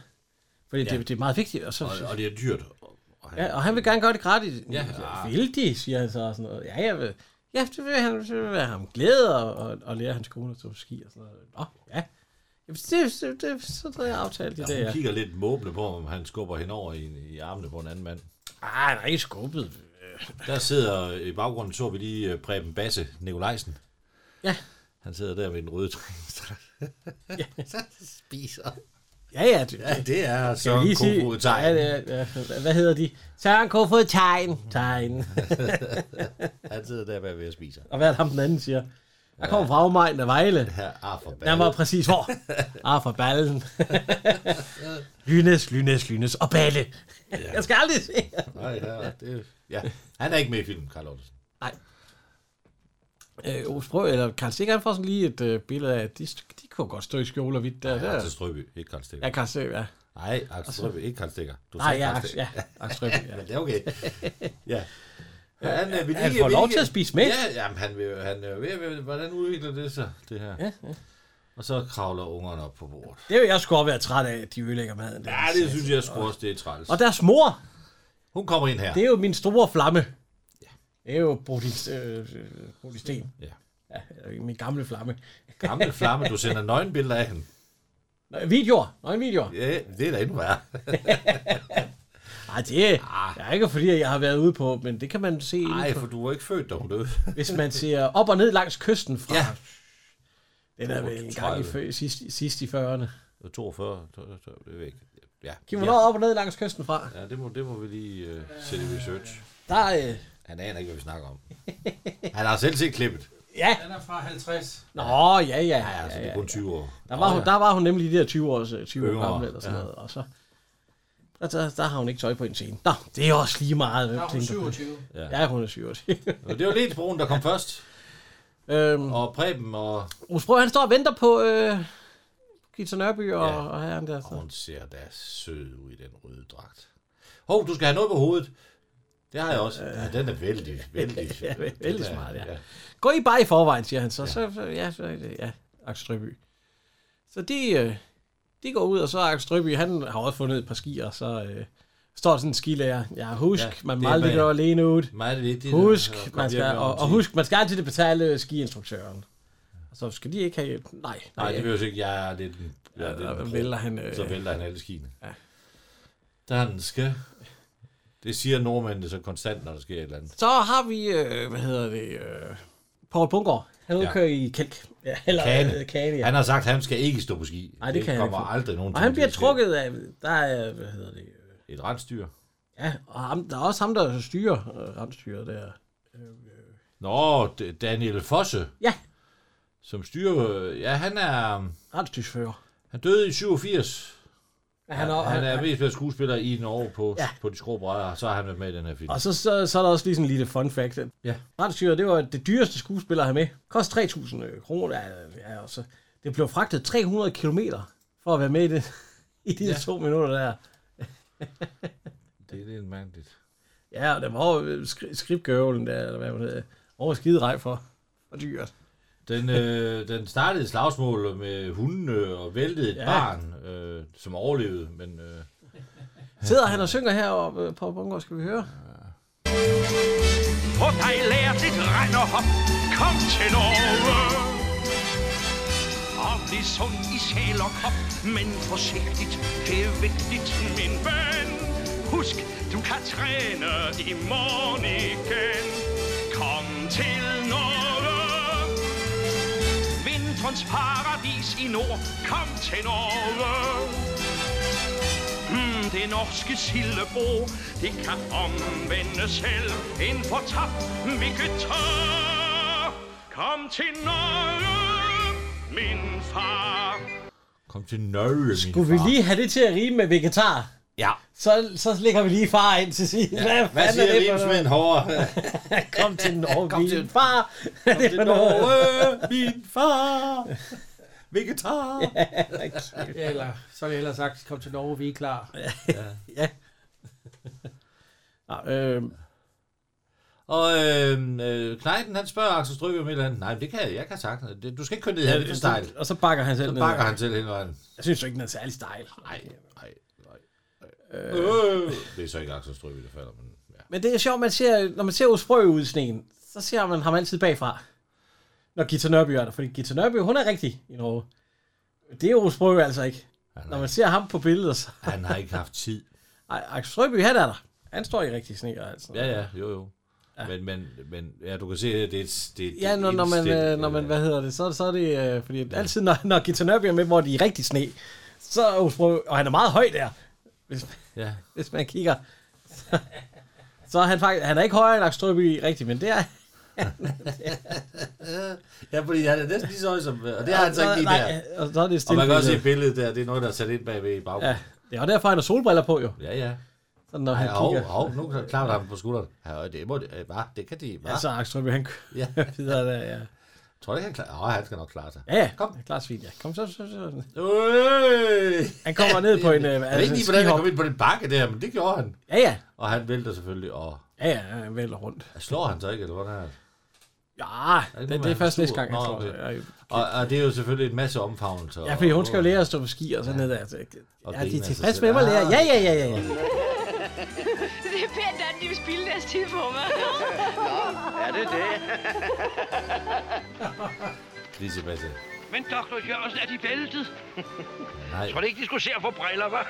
A: Fordi ja.
B: Ja.
A: det, det, er meget vigtigt. Og, så,
B: Og, og det er dyrt. Og han,
A: ja, og han vil gerne gøre det gratis.
B: Ja. ah.
A: Ja. Vil de, siger han så. Og sådan noget. Ja, jeg vil, ja, det vil han, det vil være ham glæde og, og, og lære hans kone at stå på ski. Og sådan noget. Nå, ja. Jamen, det, det, det, så havde jeg aftalt det
B: hun
A: der.
B: kigger lidt måbende på, om han skubber hende over i, i armene på en anden mand.
A: Ah, han er ikke skubbet.
B: Der sidder i baggrunden, så vi lige øh, Preben Basse Nikolajsen.
A: Ja.
B: Han sidder der med den røde træningsdragt. ja. Så spiser.
A: Ja, ja. Det,
B: Ja, det er så
A: Kan vi
B: en
A: lige sige,
B: kofod tegn.
A: ja, det er- ja, hvad hedder de? Søren Kofod Tegn. Tegn.
B: Han sidder der bagved og spiser.
A: Og hvad er det ham den anden siger? Jeg kommer fra Afmejen af Vejle.
B: Her er ah, for
A: Jeg var præcis hvor? Ah, fra ballen. lynes, lynes, lynes og balle. Jeg skal aldrig se.
B: Nej, ja, det, ja. Han er ikke med i filmen, Karl Ottesen.
A: Øh, Osbro, eller Karl Sikker, han får sådan lige et øh, billede af, at de, de kunne godt stå i skjole og hvidt der.
B: Ja.
A: der.
B: Axel Strøby, ikke Karl Stikker.
A: Ja, Karl Sikker, ja.
B: Nej, Axel Strøby, ikke Karl Stikker. Du
A: Nej, ja,
B: Karl
A: Aks-
B: Stikker.
A: ja, Axel Strøby, ja.
B: Men det er okay. Ja. Han, øh, vil
A: Han
B: ikke-
A: får
B: vil
A: lov
B: ikke-
A: til at spise med.
B: Ja, jamen, han vil, han er ved, ved, hvordan udvikler det sig, det her?
A: Ja, ja.
B: Og så kravler ungerne op på bordet.
A: Det vil jeg sgu også være træt af, at de ødelægger maden. Der.
B: Ja, det synes jeg sgu også, det er træls.
A: Og deres mor,
B: Hun kommer ind her.
A: Det er jo min store flamme. Det er jo Bodil, øh, Bodil Sten.
B: Ja.
A: ja. eller Min gamle flamme.
B: Gamle flamme, du sender nøgenbilleder af hende.
A: Nå, videoer. Nå, en videoer.
B: Ja, det er da endnu værre.
A: Ej, det
B: Ah.
A: er ikke fordi, jeg har været ude på, men det kan man se,
B: Nej,
A: Ej.
B: for du var ikke født, da hun døde.
A: hvis man ser op og ned langs kysten fra.
B: Ja.
A: Ja. Den er vel en gang i
B: 32.
A: fø, sidst, sidst i 40'erne.
B: 42, så- så- så- det ved jeg ikke. Ja.
A: Giv mig noget op og ned langs kysten fra.
B: Ja, det må, det må vi lige øh, sætte i research.
A: Der er... Øh,
B: Han aner ikke, hvad vi snakker om. Han har selv set klippet.
A: ja.
C: Den er fra 50.
A: Nå, ja, ja.
B: Ja,
A: ja,
B: altså, det
A: ja,
B: er
A: ja.
B: kun 20 år.
A: Der, var hun, der var hun nemlig de der 20 år, 20 år
B: Yngre,
A: gammel eller sådan
B: ja.
A: noget. Og så, der, der, der, har hun ikke tøj på en scene. Nå, det er også lige meget. hvem
C: Der er hun
A: tænker på det?
C: 27.
A: Ja, hun er 27.
B: Men det var Lensbroen, der kom først.
A: øhm,
B: Og Preben og...
A: Osbro, han står og venter på øh, Gita Nørby og, ja.
B: Ja.
A: og herren der.
B: og
A: Så.
B: Hun ser da sød ud i den røde dragt. Hov, du skal have noget på hovedet. Det har jeg også. Ja, den er vældig, vældig.
A: Ja, vældig
B: den er-
A: smart, ja. Gå I bare i forvejen, siger han så. Ja, så, så, ja, så, ja Axel Strøby. Så de, øh, de går ud, og så er Axel Strøby, han har også fundet et par skier, og så øh, står der sådan en skilærer. Ja, husk, ja,
B: Ja,
A: man
B: det
A: må
B: er
A: aldrig
B: bag-
A: gå alene ud.
B: Meget vigtigt. at
A: Husk,
B: komme
A: man
B: hjem
A: skal,
B: med om
A: og, og
B: tiden.
A: husk, man skal altid betale øh, skiinstruktøren. Og så skal de ikke have hjælp. Nej, nej,
B: Nej,
A: nej
B: det vil jeg jo ikke. Jeg er lidt... en- Jeg er lidt
A: der
B: en-
A: vælter han... Øh,
B: Så vælter han alle skiene.
A: Ja.
B: Danske. Det siger nordmændene så konstant, når der sker et eller andet.
A: Så har vi, øh, hvad hedder det, øh, Paul Bungård. Han
B: Ja.
A: udkører i kælk. Ja, eller
B: Kane.
A: øh, kane ja.
B: Han har sagt, at han skal ikke stå på ski.
A: Nej, det kan han
B: kommer
A: ikke.
B: aldrig nogen
A: Og han bliver
B: til at ske.
A: trukket af, der er, hvad hedder det, øh,
B: Et rensdyr.
A: ja, og ham, der er også ham, der styrer øh, rensdyret der.
B: Nå, D- Daniel Fosse,
A: Ja,
B: som styrer... øh, Ja, han er...
A: rensdyrsfører.
B: Han døde i 87.
A: Ja,
B: Han er, han er mest været skuespiller i Norge på,
A: Ja.
B: ja. på de skrå brædder, og så har han været med i den her film.
A: Og så, så, så er der også lige sådan en lille fun fact. at
B: Ja.
A: Rensdyret, det var det dyreste skuespiller at have med. Kost 3.000 øh, kroner. Ja, ja, og så, det blev fragtet 300 km for at være med i det. I de ja. to minutter der.
B: Det er lidt mærkeligt.
A: Ja, og det var jo skri- skribgøvlen der, eller hvad man hedder. Over skiderej for. For dyrt.
B: Den, øh, den startede et slagsmål med hundene og væltede et
A: Ja.
B: ja. barn, øh, som overlevede, men... Øh,
A: Sidder han og synger heroppe på Bungård, skal vi høre?
I: Få dig lært et renderhop. Kom til Norge. Og bliv sund i sjæl og krop. Men forsigtigt, det er vigtigt, min ven. husk, du kan træne i morgen igen. Kom til Norge. Vintrens paradis i nord. Kom til Norge. Mm, det norske sildebro, det kan omvende selv en fortabt vegetar. Kom til Norge, min far.
B: Kom til Norge, min
A: Skulle vi
B: far.
A: lige have det til at rime med vegetar?
B: Ja.
A: Så, så lægger vi lige far ind til siden. Ja. Hvad,
B: Hvad
A: fanden
B: siger
A: er det for noget?
B: rimsmænd hårdere?
A: Kom til Norge,
B: Kom
A: Kom
B: til-
A: til far. Kom
B: Til Norge, øh, min far. Vegetar.
C: Ja, eller så er det ellers sagt, kom til Norge, vi er klar.
A: Ja. Nå, øh,
B: Og øhm, øh, Knejten, han spørger Axel Strøby om et eller andet. Nej, men det kan jeg. Jeg kan sagtens. Det- Du skal ikke køre ned her, det er for stejl.
A: og så bakker han selv
B: Så
A: ned.
B: bakker han til hele vejen.
A: Jeg synes jo ikke, den er særlig stejl. Nej.
B: Nej, nej. Øh. Det er så ikke Axel Strøby, der falder, men ja.
A: Men det er sjovt, man ser, når man ser Osprø ud i sneen, så ser man ham altid bagfra. Når Gita Nørby er der, fordi Gita Nørby, hun er rigtig i Norge. Det er Osprø altså ikke.
B: Han,
A: Når
B: har,
A: man ser ham på billedet, så...
B: han har ikke haft tid.
A: Ej, Axel Strøby, han er der. Han står i rigtig sne og alt sådan
B: Ja, ja, jo, jo. Ja. Men, men, men ja, du kan se, at det er et... Det, er et
A: Ja, når, når, man,
B: indstillet-
A: øh, når man, hvad hedder det, så, så er det, øh, fordi ja. altid, når, når Gita Nørby er med, hvor de er i rigtig sne, så er Osprø, og han er meget høj der, hvis,
B: Ja,
A: hvis man kigger. Så, så er han faktisk, han er ikke højere end Axel Strøby rigtigt, men det er,
B: ja fordi han er næsten lige så høj som... Og det har han så ikke lige der.
A: og så er det
B: Og
A: stille.
B: man kan også se
A: billede.
B: billedet der, det er noget, der er sat ind bagved i baggrunden.
A: Ja, det er også derfor, han har solbriller på jo,
B: Ja, ja.
A: sådan, når
B: Ej,
A: han
B: hov,
A: kigger.
B: hov, nu klapper han på skulderen. Ja, det må det, øh, hva? det kan de, hva?
A: Ja, så er Axel Strøby, han kører
B: Ja,
A: videre der, ja.
B: tror du ikke, han klarer? Åh, han skal nok klare sig.
A: Ja, ja,
B: Kom.
A: kom. klart svin, ja. Kom så, så, så.
B: Øh!
A: Han kommer ned på en, øh,
B: Jeg ved ikke lige,
A: altså,
B: hvordan han
A: skihop.
B: kom ind på den bakke der, men det gjorde han.
A: Ja, ja,
B: Og han vælter selvfølgelig, og
A: ja, ja, han vælter rundt.
B: slår han så ikke, eller hvordan er det?
A: Ja, det,
B: det må
A: det
B: være
A: er først
B: stor.
A: næste gang, han
B: Nå,
A: slår
B: okay.
A: sig. Ja, jo.
B: Og, og, det er jo selvfølgelig en masse omfavnelser.
A: Ja, fordi hun
B: og-
A: skal jo lære at stå på ski og sådan noget der. Altså,
B: Og
A: Ja, de
B: grine
A: er
B: af sig
A: tilfredse med
B: selv.
A: mig, lærer. Ja, ja, ja, ja. ja.
J: Det er pænt, at de vil spille deres tid på mig.
G: Er det det?
B: Grisebasse.
G: Men doktor Jørgensen, er de væltet?
B: Nej,
G: Tror du ikke, de skulle se at få briller, hva'?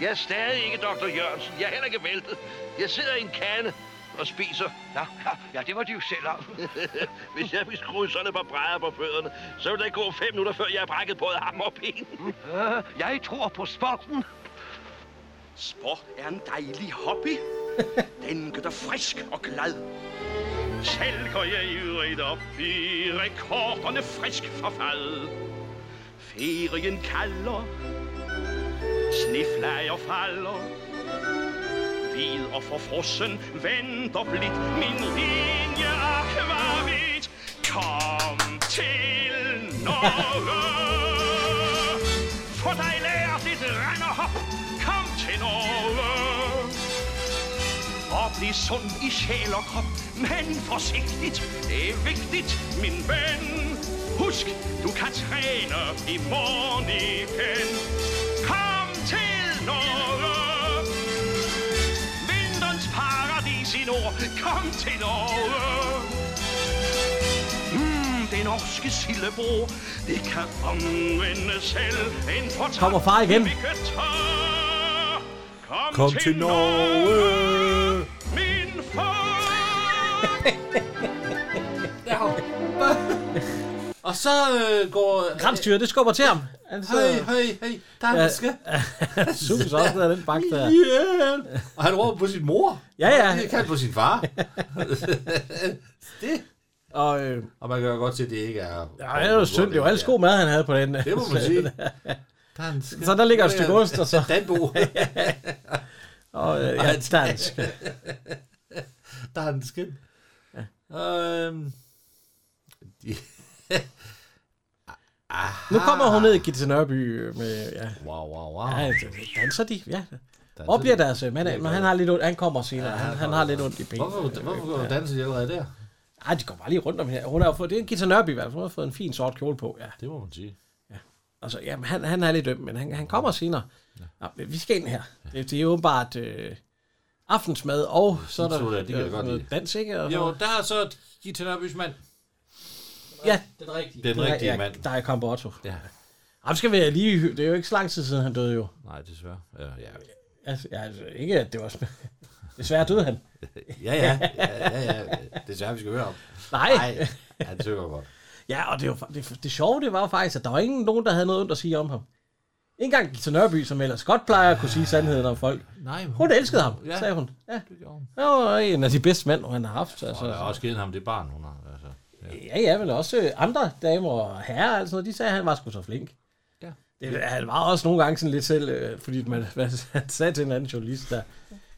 G: Jeg er stadig ikke Dr. Jørgensen. Jeg er heller ikke væltet. Jeg sidder i en kande og spiser. Nå, ja, det var de jo selv om. Hvis jeg ville skrue sådan et par brædder på fødderne, så ville der ikke gå fem minutter, før jeg har brækket både ham og benen. Øh, jeg tror på sporten.
I: Sport er en dejlig hobby. Den gør dig frisk og glad. Selv går jeg ivrigt op i rekorderne frisk forfald. Ferien kalder, sneflager falder. Hvid og forfrossen venter blidt min linje akvavit. Kom til Norge! Få dig lært et renderhop. Kom til Norge. Og bliv sund i sjæl og krop, men forsigtigt. Det er vigtigt, min ven. Husk, du kan træne i morgen igen. Kom til Norge. Vinterens paradis i nord. Kom til Norge. Mm, det norske sillebro, det kan omvende selv en fortabt
A: Kommer far igen?
I: vegetar. Kom,
B: Kom til Norge!
I: min far.
B: Og så øh, går...
A: Kramstyret, det skubber til ham. Han så
B: Hej, hej, hej, der
A: Ja.
B: er en maske.
A: super så også ned ad den bakke der.
B: Hjælp! Og han råber på sin mor.
A: Ja, ja.
B: Det kan han på sin far. det.
A: Og øh,
B: Og man kan jo godt se, at det ikke er...
A: ja, det er jo synd, det var alles god mad, han havde på den.
B: Det må man sige. Dansk.
A: Så der ligger et stykke ost, og så...
B: Danbo.
A: Og, øh, ja, dansk.
B: Dansk. Øhm. de-
A: Nu kommer hun ned i Gita Nørby øh, med... Ja,
B: Wow, wow, wow.
A: ja altså, danser de? Ja.
B: Danser
A: Og bliver
B: de?
A: deres øh, mand af, men han har lidt ondt. Han kommer senere. Han, han har lidt ondt i
B: Hvorfor,
A: benene.
B: hvorfor går du danse allerede der?
A: Ej, de går bare lige rundt om her. Hun har jo fået... Det er en Gita Nørby i hvert fald. Hun har fået en fin sort kjole på, ja.
B: Det må man sige.
A: Altså, jamen, han, han er lidt øm, men han, han kommer senere. Nå, men vi skal ind her. Det, det er åbenbart øh, aftensmad, og så er der
B: Pizza, det kan jeg
A: øh,
B: godt
A: noget
B: lide.
A: dans, ikke? Og,
B: Jo, der er så Gita Nørbys mand.
A: ja,
C: Den rigtige.
B: Den rigtige mand.
A: Der er Kamp Otto.
B: Ja.
A: Jamen, skal vi lige... hy- Det er jo ikke så lang tid siden, han døde jo.
B: Nej, desværre. Ja, ja.
A: Altså, ja, altså, ikke at det var... sp- Desværre døde han.
B: Ja, ja. Ja, ja, ja. Desværre, vi skal høre om.
A: Nej.
B: Nej, han synger godt.
A: Ja, og det, var, det, det sjove, det var jo faktisk, at der var ingen nogen, der havde noget ondt at sige om ham. Ikke engang Gita Nørby, som ellers godt plejer at kunne sige sandheden om folk.
B: Nej, men
A: hun elskede ham,
B: Ja.
A: sagde hun. Ja.
B: Det gjorde hun.
A: Han var en af de bedste mænd, han har haft. Altså,
B: Og der er også givet ham det barn, hun har. Altså.
A: Ja, ja, men også øh, andre damer og herrer, og alt sådan noget, de sagde, at han var sgu så flink.
B: Ja.
A: Det, han var også nogle gange sådan lidt selv, øh, fordi man, man sagde til en anden journalist, der,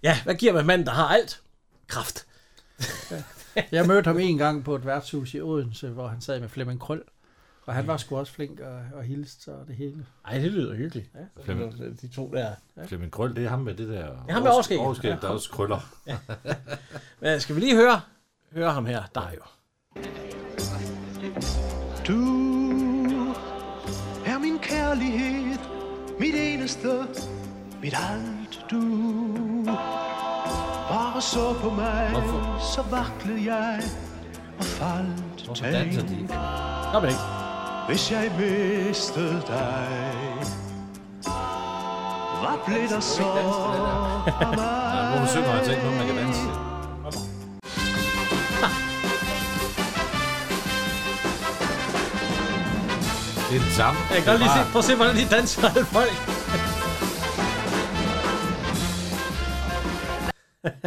A: ja, hvad giver man manden, der har alt? Kraft.
C: Jeg mødte ham en gang på et værtshus i Odense, hvor han sad med Flemming Krøl. Og han var sgu også flink og, og hilste og det hele.
A: Ej, det lyder hyggeligt.
C: Ja.
A: Flemming. De to der. Ja.
B: Flemming Krøl, det er ham med det der...
A: Ja, ham med overskæg.
B: Overskæg, der også krøller.
A: Men skal vi lige høre, høre ham her, der er jo.
K: Du er min kærlighed, mit eneste, mit alt du. Bare så på mig,
B: Hvorfor?
K: så vaklede jeg og faldt
B: Hvorfor danser de ikke?
A: Kom ikke.
K: Hvis jeg mistede dig, hvad blev der så af
B: Nej,
K: mig?
B: hvor hun synger altså ikke noget, man kan danse til. Det er det samme.
A: Jeg kan godt lige se, prøv at se, hvordan de danser alle folk.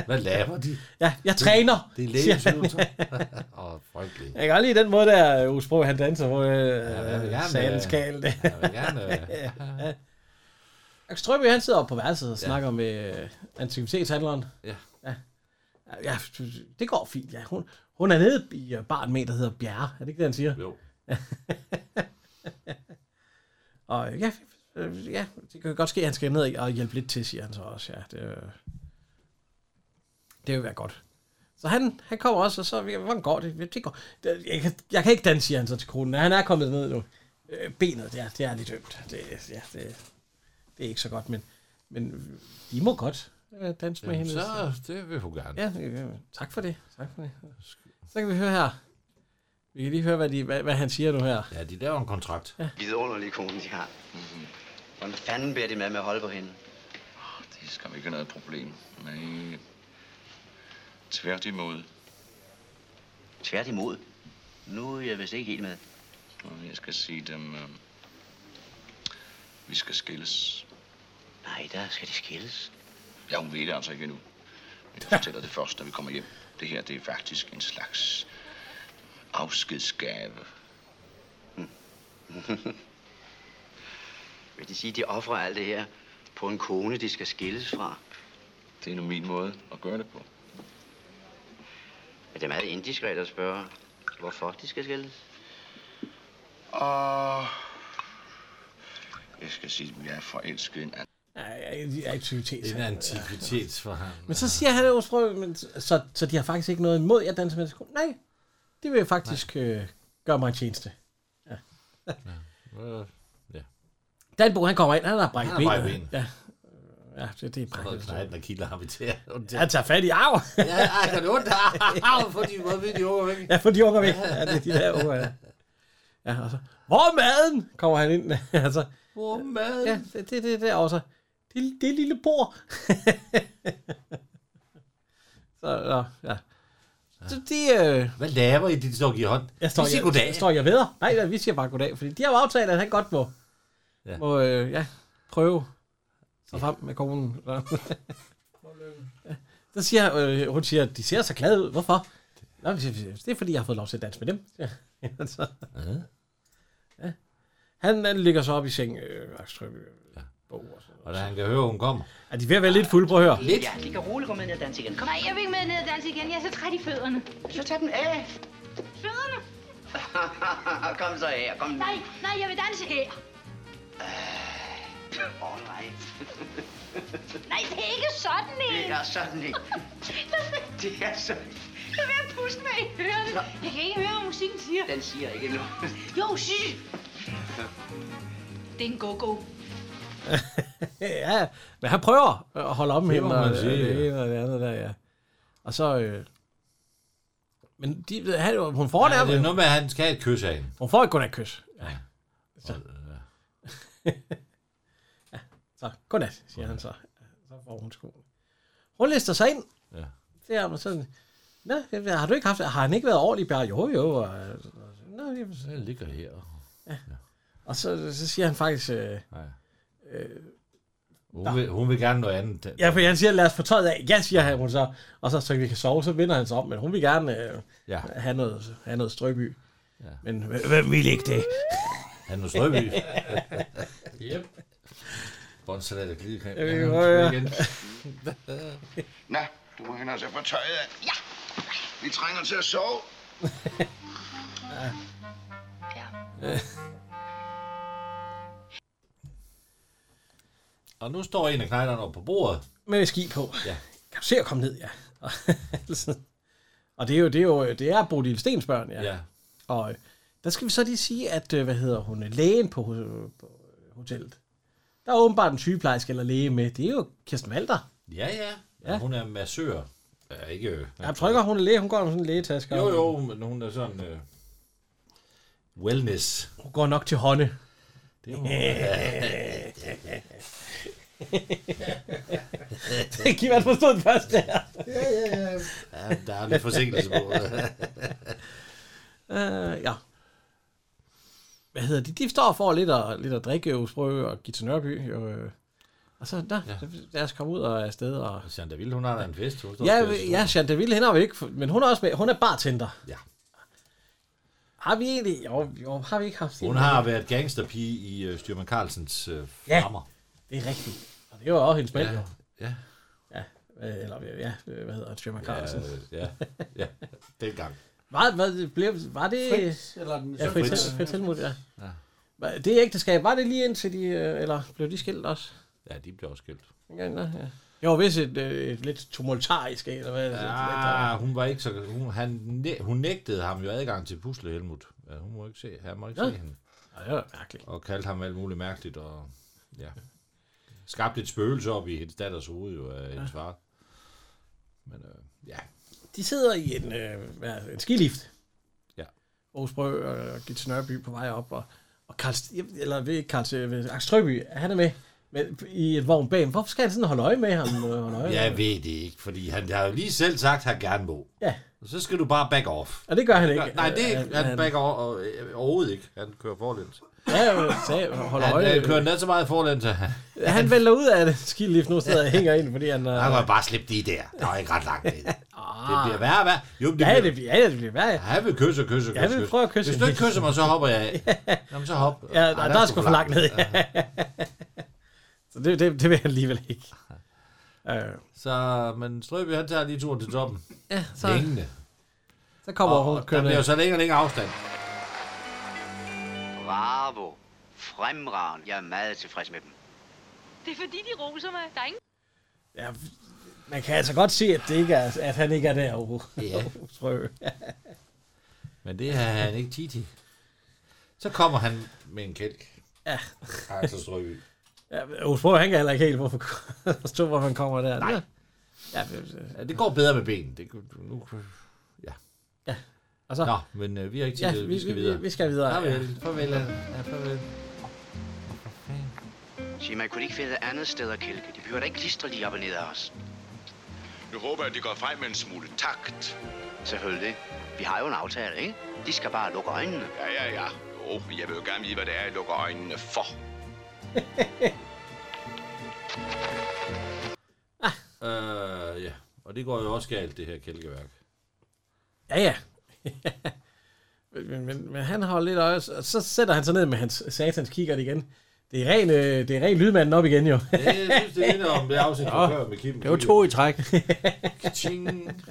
B: Hvad laver de?
A: Ja, jeg træner.
B: Det er
A: siger han.
B: lægebetydelser. Åh, frygteligt.
A: Jeg kan godt lide den måde der, øh, Ove Sprog, han danser på
B: jeg vil
A: øh, ja,
B: gerne,
A: salens
B: øh,
A: kæl.
B: jeg vil gerne, øh.
A: ja. Strøby, han sidder oppe på værelset og snakker med øh, antikvitetshandleren.
B: Ja.
A: ja. Ja, det går fint. Ja, hun, hun er nede i øh, baren med, en, der hedder Bjerre. Er det ikke det, han siger?
B: Jo.
A: og øh, ja, øh, ja, det kan godt ske, at han skal ned og hjælpe lidt til, siger han så også. Ja, det, øh, det vil være godt. Så han, han kommer også, og så, ja, hvordan går det? det går. det- Jeg kan, jeg kan ikke danse, siger han så til konen. Han er kommet ned nu. Øh, Benet, ja, det er lidt ømt. Det, ja, det, det er ikke så godt, men, men I må godt øh, danse med
B: Jamen,
A: hende.
B: så det vil hun gerne.
A: Ja, øh, tak for det. Tak for det. Så kan vi høre her. Vi kan lige høre, hvad, de, hvad, hvad han siger nu her.
B: Ja, de laver en kontrakt.
A: Ja.
H: Vidunderlige kone, de har. Mm-hmm. Hvordan fanden bærer det med med at holde på hende?
D: Det er skam ikke noget problem. Nej. Tværtimod.
H: Tværtimod. Nu er jeg vist ikke helt med.
D: Og Jeg skal sige dem, øh, vi skal skilles.
H: Nej, der skal de skilles.
D: Ja, hun ved det altså ikke endnu. Men jeg fortæller det først, når vi kommer hjem. Det her, det er faktisk en slags afskedsgave.
H: Vil de sige, de offrer alt det her på en kone, de skal skilles fra?
D: Det er nu min måde at gøre det på.
H: Men det er meget indiskret at spørge, hvorfor de skal skilles.
D: Og jeg skal sige, at jeg er forelsket i en anden.
A: Ja, aktivitet.
B: Det er en antikvitet for ham.
A: Men så siger han jo, prøv, men, så, så de har faktisk ikke noget imod, at danser med sko. Nej, det vil jeg faktisk øh, gøre mig en tjeneste.
B: Øh, Ja.
A: Danbo, han kommer ind, han har brækket
B: Han har brækket
A: benet. Ja. Ja, det, det er
B: Så er der
A: brækket.
B: knejten, der kilder ham i tæer.
A: Han tager fat i arv.
B: Ja, ej, kan det ondt? Au, fordi hvor ved de unger ikke?
A: Ja, for de unger væk. Ja, det er de der unger. ja. Ja, og så, hvor er maden? Kommer han ind. altså,
B: Hvor er maden?
A: Ja, det er det, det, der også. Det, det lille bord. så, nå, ja. Så de, øh,
B: Hvad laver I, de står og giver hånd?
A: Jeg står,
B: Vi siger
A: jeg,
B: goddag.
A: Jeg, står jeg ved. Nej, nej, vi siger bare goddag, fordi de har jo aftalt, at han godt må,
B: Ja.
A: ja. må øh, ja, prøve sig frem med konen. Ja. Så siger øh, hun, siger, at de ser så glade ud. Hvorfor? Nå, men siger vi, det er, fordi jeg har fået lov til at danse med dem. Ja, altså. ja. Han, han ligger så op i seng, øh, Axel Strøby. Ja.
B: Og da han kan høre, hun kommer.
A: Er de ved at være lidt fulde? Prøv at høre.
H: Lidt? Ja, de kan roligt gå med ned og danse igen. Kom.
J: Nej, jeg vil ikke med ned og danse igen. Jeg er så træt i fødderne.
H: Så tag dem af.
J: Fødderne?
H: Ah, kom så her, kom nu.
J: Nej, nej, jeg vil danse her. Øh,
H: Åh, oh, nej.
J: Nej, det er ikke sådan en.
H: Det er sådan ikke. Det er sådan.
J: Lad være at puste med i ørerne. Jeg kan ikke høre, hvad musikken siger.
H: Den siger ikke noget.
J: Jo, sy. Det er en go-go.
A: ja, men han prøver at holde om
B: Det
A: hende,
B: må man
A: og
B: sige,
A: sige, det
B: ja.
A: ene og det andet der, ja. Og så... Øh, men de, han, hun får
B: Ja,
A: ja,
B: det er
A: det,
B: noget med, at han skal have et kys af hende. øh,
A: hun får et godnat kys. Ja. Så. ja, så godnat, siger han så. så får hun skoene. Hun lister sig ind.
B: Ja.
A: Det er man sådan, Nå, jamen, har du ikke haft, har han ikke været ordentlig bare? Jo, jo. Og, Nå, jamen, så-
B: Den ligger her.
A: og så, så siger han faktisk, øh,
B: Nej.
A: øh,
B: Hun
A: Nå.
B: vil, hun vil gerne noget andet.
A: ja, for han siger, lad os få tøjet af. Ja, siger han, hun så. Og så, så vi kan sove, så vinder han sig om, men hun vil gerne øh,
B: Ja.
A: have, noget, have noget strøby.
B: Ja.
A: Men hvem- hvem vil ikke det?
B: Han er strøby. yep. Båndsalat og glidecreme.
A: Jeg ved
B: Ja,
A: ikke,
B: nu
A: hvor
B: er
A: jeg-
B: vi igen.
D: Nå, du må hende altså få tøjet af. Ja. Vi trænger til at sove.
B: Og nu står en af knejderne oppe på bordet.
A: Med ski på.
B: Ja.
A: Kan du se at komme ned, ja. Og, altså, og det er jo, det er jo, det er Bodil Stens børn, ja.
B: Ja.
A: Og øh, der skal vi så lige sige, at, øh, hvad hedder hun, øh, lægen på, ho- på øh, hotellet, der er åbenbart en sygeplejerske eller læge med, det er jo Kirsten Walter.
B: Ja, ja. ja. Hun er massør. Ja, ikke... øh,
A: Jeg tror ikke, at hun er læge, hun går med sådan en lægetaske.
B: Jo,
A: og-
B: jo, men hun er sådan... Øh, wellness.
A: Hun går nok til hånde.
B: Det er hun. Ja.
A: det kan man forstå det første her.
B: Ja, ja, ja. Ja, der er lidt forsinkelse på.
A: uh, ja. Hvad hedder de? De står for lidt at, lidt at drikke jo, sprøve og give til Nørby. Jo, øh. og så, der, ja. lad os komme ud og afsted. Og...
B: Sandra Ville, hun har da en fest. Hun står og
A: Ja,
B: spiller-
A: ja, Chante Ville, hende har vi ikke, fu- men hun er også med. Hun er bartender.
B: Ja.
A: Har vi egentlig? Jo, jo har vi ikke haft
B: Hun
A: hende?
B: har været gangsterpige i øh, Styrman Carlsens øh,
A: Ja.
B: flammer.
A: Det er rigtigt. Og det var også hendes mand,
B: Ja.
A: jo.
B: Ja.
A: Ja, øh, eller ja, øh, hvad hedder han? Sjøman Carlsen.
B: Øh, Ja, ja, ja. Dengang.
A: Var, hvad, blev, var det...
C: Fritz, eller den-
A: ja,
C: Ja,
A: Fritz,
C: Fritz.
A: Fritz. Fritz Helmut, ja.
B: Ja.
A: ja. Det ægteskab, var det lige indtil de... øh, Eller blev de skilt også?
B: Ja, de blev også skilt.
A: Dengang, nå, ja. Jo, hvis et, øh, et lidt tumultarisk, eller hvad? Altså, øh,
B: Ja, hun var ikke så... Hun, han, næ- hun nægtede ham jo adgang til pusle, Helmut. Ja, hun må ikke se, han må ikke
A: Ja.
B: se hende.
A: Ja, det var mærkeligt.
B: Og kaldte ham alt muligt mærkeligt, og ja. Skabte et spøgelse op i hendes datters hoved, jo, af hendes far. Men øh, ja,
A: De sidder i en, øh, hvad- en skilift.
B: Ja.
A: Aarhus Brø og Gits Nørby på vej op, og, og Karl, St- eller ved Karl, ved Akstrøby, han er med, med i et vogn bag ham. Hvorfor skal han sådan holde øje med ham? øh, Holde øje med?
B: jeg ved det ikke, fordi han har jo lige selv sagt, at han gerne må.
A: Ja.
B: Og så skal du bare back off.
A: Og det gør han ikke. øh,
B: Nej, det er ikke.
A: Han-
B: Han backer over, og, øh, overhovedet ikke. Han kører forlæns.
A: Ja, jo, sag, holder
B: Han,
A: øje.
B: han kører den så meget forlæns, at han,
A: Han vælter ud af det skilift nu, så jeg hænger ind, fordi han... Øh,
B: han kan bare slippe lige der. Der er ikke ret langt ned. Det
A: ah,
B: bliver værre og værre. Jo, men det
A: ja,
B: bliver,
A: det bliver, ja, det bliver værd. Ja,
B: Han vil kysse og kysse og
A: Jeg vil prøve at kysse
B: Hvis du
A: hende.
B: ikke kysser mig, så hopper jeg af. Jamen, så hop.
A: ja
B: Ej,
A: der, der, er sgu for langt ned. Ja. så det, det, det vil han alligevel ikke. Øh,
B: Så, men Strøby, han tager lige turen til toppen.
A: ja, så,
B: Længende.
A: så kommer
B: Og
A: hun
B: der
A: kørende.
B: bliver jo så længere og længere afstand.
H: Bravo. Fremragende. Jeg er meget tilfreds med dem.
J: Det er fordi, de roser mig. Der er ingen
A: Ja, man kan altså godt se, at, det ikke er, at han ikke er der overhovedet.
B: Ja.
A: Prøv.
B: Men det har han ikke tid til. Så kommer han med en kælk.
A: Ja.
B: Axel Strøby.
A: Ja, Osbro, han kan heller ikke helt hvorfor, forstå, hvorfor han kommer der. Nej. Ja, det-
B: Ja, det går bedre med benene. Det, nu, ja.
A: Ja, og så-
B: Nå, men øh, vi har ikke tid
A: Ja,
B: til det.
A: vi-
B: Vi skal
A: vi-
B: videre.
A: vi- vi skal videre,
B: Farvel.
A: ja.
B: Farvel. Ja, farvel.
H: Sig mig, kunne de ikke finde et andet sted at kælke? De behøver da ikke klistre lige op og ned af os.
D: Nu håber jeg, at de går frem med en smule takt.
H: Selvfølgelig. Vi har jo en aftale, ikke? De skal bare lukke øjnene.
D: Ja, ja, ja. Jo, men jeg vil jo gerne vide, hvad det er, jeg lukker øjnene for.
B: Øh, ja. Og det går jo også galt, det her kælkeværk.
A: ja. ja. men, men, men, han har lidt øje, og så sætter han sig ned med hans satans kikkert igen. Det er ren, øh, det er ren lydmanden op igen, jo.
B: Ja, Jeg synes, det minder om det afsnit fra før med Kim.
C: Det var to i træk.
B: Ting.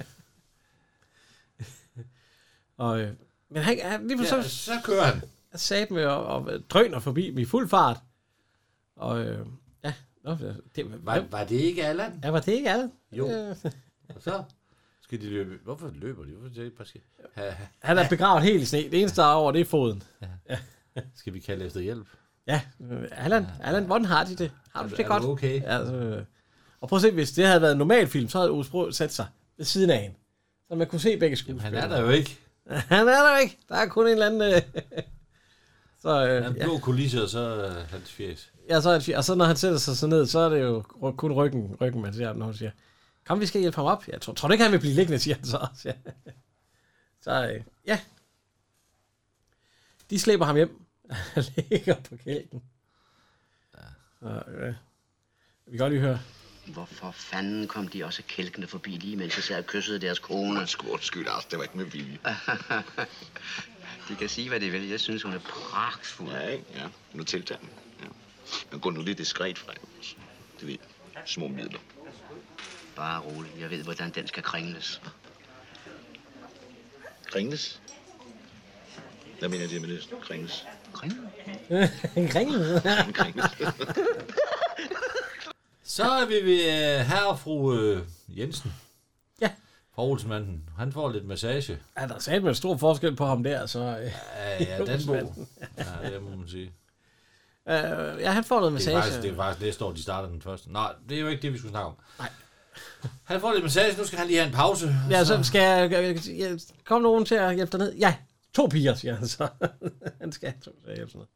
A: og, øh, men han, han lige
B: Ja,
A: pludselig
B: så kører han.
A: ja. sat med øh, og, og, drøner forbi dem i fuld fart. Og øh, ja, Nå, det, det,
B: Var, var det ikke Allan?
A: ja, var det ikke alle?
B: Jo.
A: Øh,
B: Og så skal de løbe. Hvorfor løber de? Hvorfor er det ikke bare skal... Ha, ha.
A: han er begravet helt i sne. Det eneste, der er over, det er foden.
B: Skal vi kalde efter hjælp?
A: Ja, øh, Allan, Allan, hvordan har de det? Har
B: Er
A: du
B: du-
A: det
B: er
A: godt?
B: du okay?
A: Altså, øh, og prøv at se, hvis det havde været en normal film, så havde Osbro sat sig ved siden af hende. Så man kunne se begge
B: Jamen,
A: skuespillere.
B: han er der jo ikke.
A: Han er der ikke. Der er kun en eller anden... Øh, Så, øh,
B: Han blå kulisse, og så øh, hans fjes.
A: Ja, så er det, fint. og så når han sætter sig så ned, så er det jo ry- kun ryggen, ryggen man ser, når hun siger, kom, vi skal hjælpe ham op. Jeg tror, tror du ikke, han vil blive liggende, siger han så også. Ja. Så øh, ja. De slæber ham hjem. Han ligger på kælken. Ja. Så, øh, vi kan godt lige høre.
H: Hvorfor fanden kom de også kælkende forbi lige, mens jeg sad og kyssede deres kone? Skurt skyld, altså. Det var ikke med vilje. de kan sige, hvad de vil. Jeg synes, hun er pragtfuld.
D: Ja, ikke? Ja, nu tiltager den. Ja. Men gå nu lidt diskret frem. altså. Du ved, små midler.
H: Bare rolig. Jeg ved, hvordan den skal kringles.
D: Kringles? Hvad mener det med det? Kringles?
H: Kringles?
A: en kringel.
D: En kringles.
B: Så er vi ved øh, herre og fru øh, Jensen.
A: Ja.
B: Fra Olsenmanden. Han får lidt massage.
A: Ja, der er satme en stor forskel på ham der, så... Øh,
B: Ja, ja, Danbo. Ja, det må man sige.
A: øh, ja, han får noget
B: Det er,
A: massage.
B: faktisk, det er faktisk næste år, de starter den første. Nej, det er jo ikke det, vi skulle snakke om. Nej. Han får lidt massage, nu skal han lige have en pause.
A: Ja,
B: Altså-
A: så skal jeg, jeg, jeg, kom nogen til at hjælpe dig ned. Ja, to piger, siger han så. han skal have to til at hjælpe sig ned.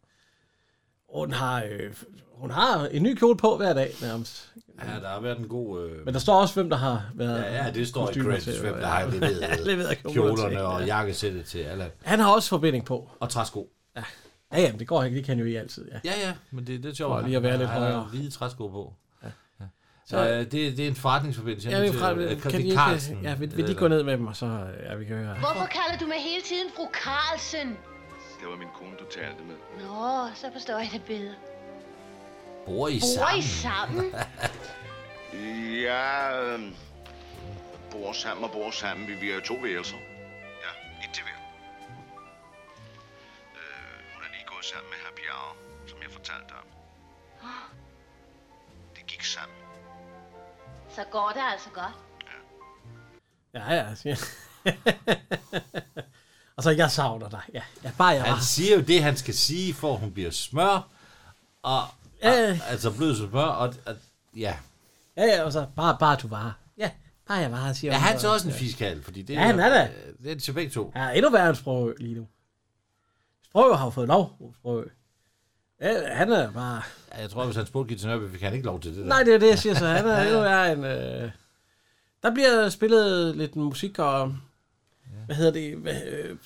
A: Hun har, øh, hun har en ny kjole på hver dag nærmest.
B: Ja, der har været en god... Øh,
A: Men der står også, hvem der har været...
B: ja, ja, det står i
A: kostymer
B: credits,
A: til,
B: hvem der
A: ja.
B: har leveret,
A: Ja, leveret kjoler til,
B: kjolerne
A: ja.
B: og jakkesættet til Allan.
A: Han har også forbinding på.
B: Og træsko.
A: Ja, ja jamen, det går ikke. Det kan jo i altid, ja.
B: Ja, ja, men det, det er sjovt.
A: For lige at være lidt
B: Han har
A: højere.
B: hvide træsko på. Ja.
A: Så-
B: Så, øh, det, det er en forretningsforbindelse.
A: Ja,
B: Han er
A: vi
B: til-
A: fra,
B: øh,
A: kan,
B: det
A: de
B: er
A: ikke,
B: Carlsen, øh,
A: ja, vil, vil
B: eller-
A: de gå ned med dem, og så ja, vi kan høre.
E: Hvorfor kalder du mig hele tiden fru Carlsen?
D: Det var min kone, du talte med.
E: Nå, så forstår jeg det bedre.
B: Bor I
E: Bor I sammen?
D: Ja, øh, bor sammen og bor sammen. Vi, vi er to værelser. Ja, et til hver. Øh, hun er lige gået sammen med herr Bjerre, som jeg fortalte dig om. Det gik sammen.
E: Så går det altså godt.
A: Ja, ja, siger Og så, jeg savner dig. Ja, ja bare jeg var.
B: Han siger jo det, han skal sige, for at hun bliver smør. Og,
A: Øh,
B: og altså blød som smør. Og, og, ja.
A: Ja, ja, og så bare, bare du var. her. Ja, bare jeg var, her, siger
B: Er
A: hun
B: han så også en
A: Ja.
B: fiskal? Fordi det
A: Ja, han er da.
B: øh, Det er til begge to.
A: Ja, endnu værre end Sprogø lige nu. Sprogø har jo fået lov, Sprogø. Ja, han er bare...
B: Ja, Jeg tror, hvis han spurgte Gita Nørby, fik han ikke lov til det der.
A: Nej, det er det, jeg siger, så han er endnu værre end... Øh... Der bliver spillet lidt musik, og... Hvad hedder det? Hvad, øh,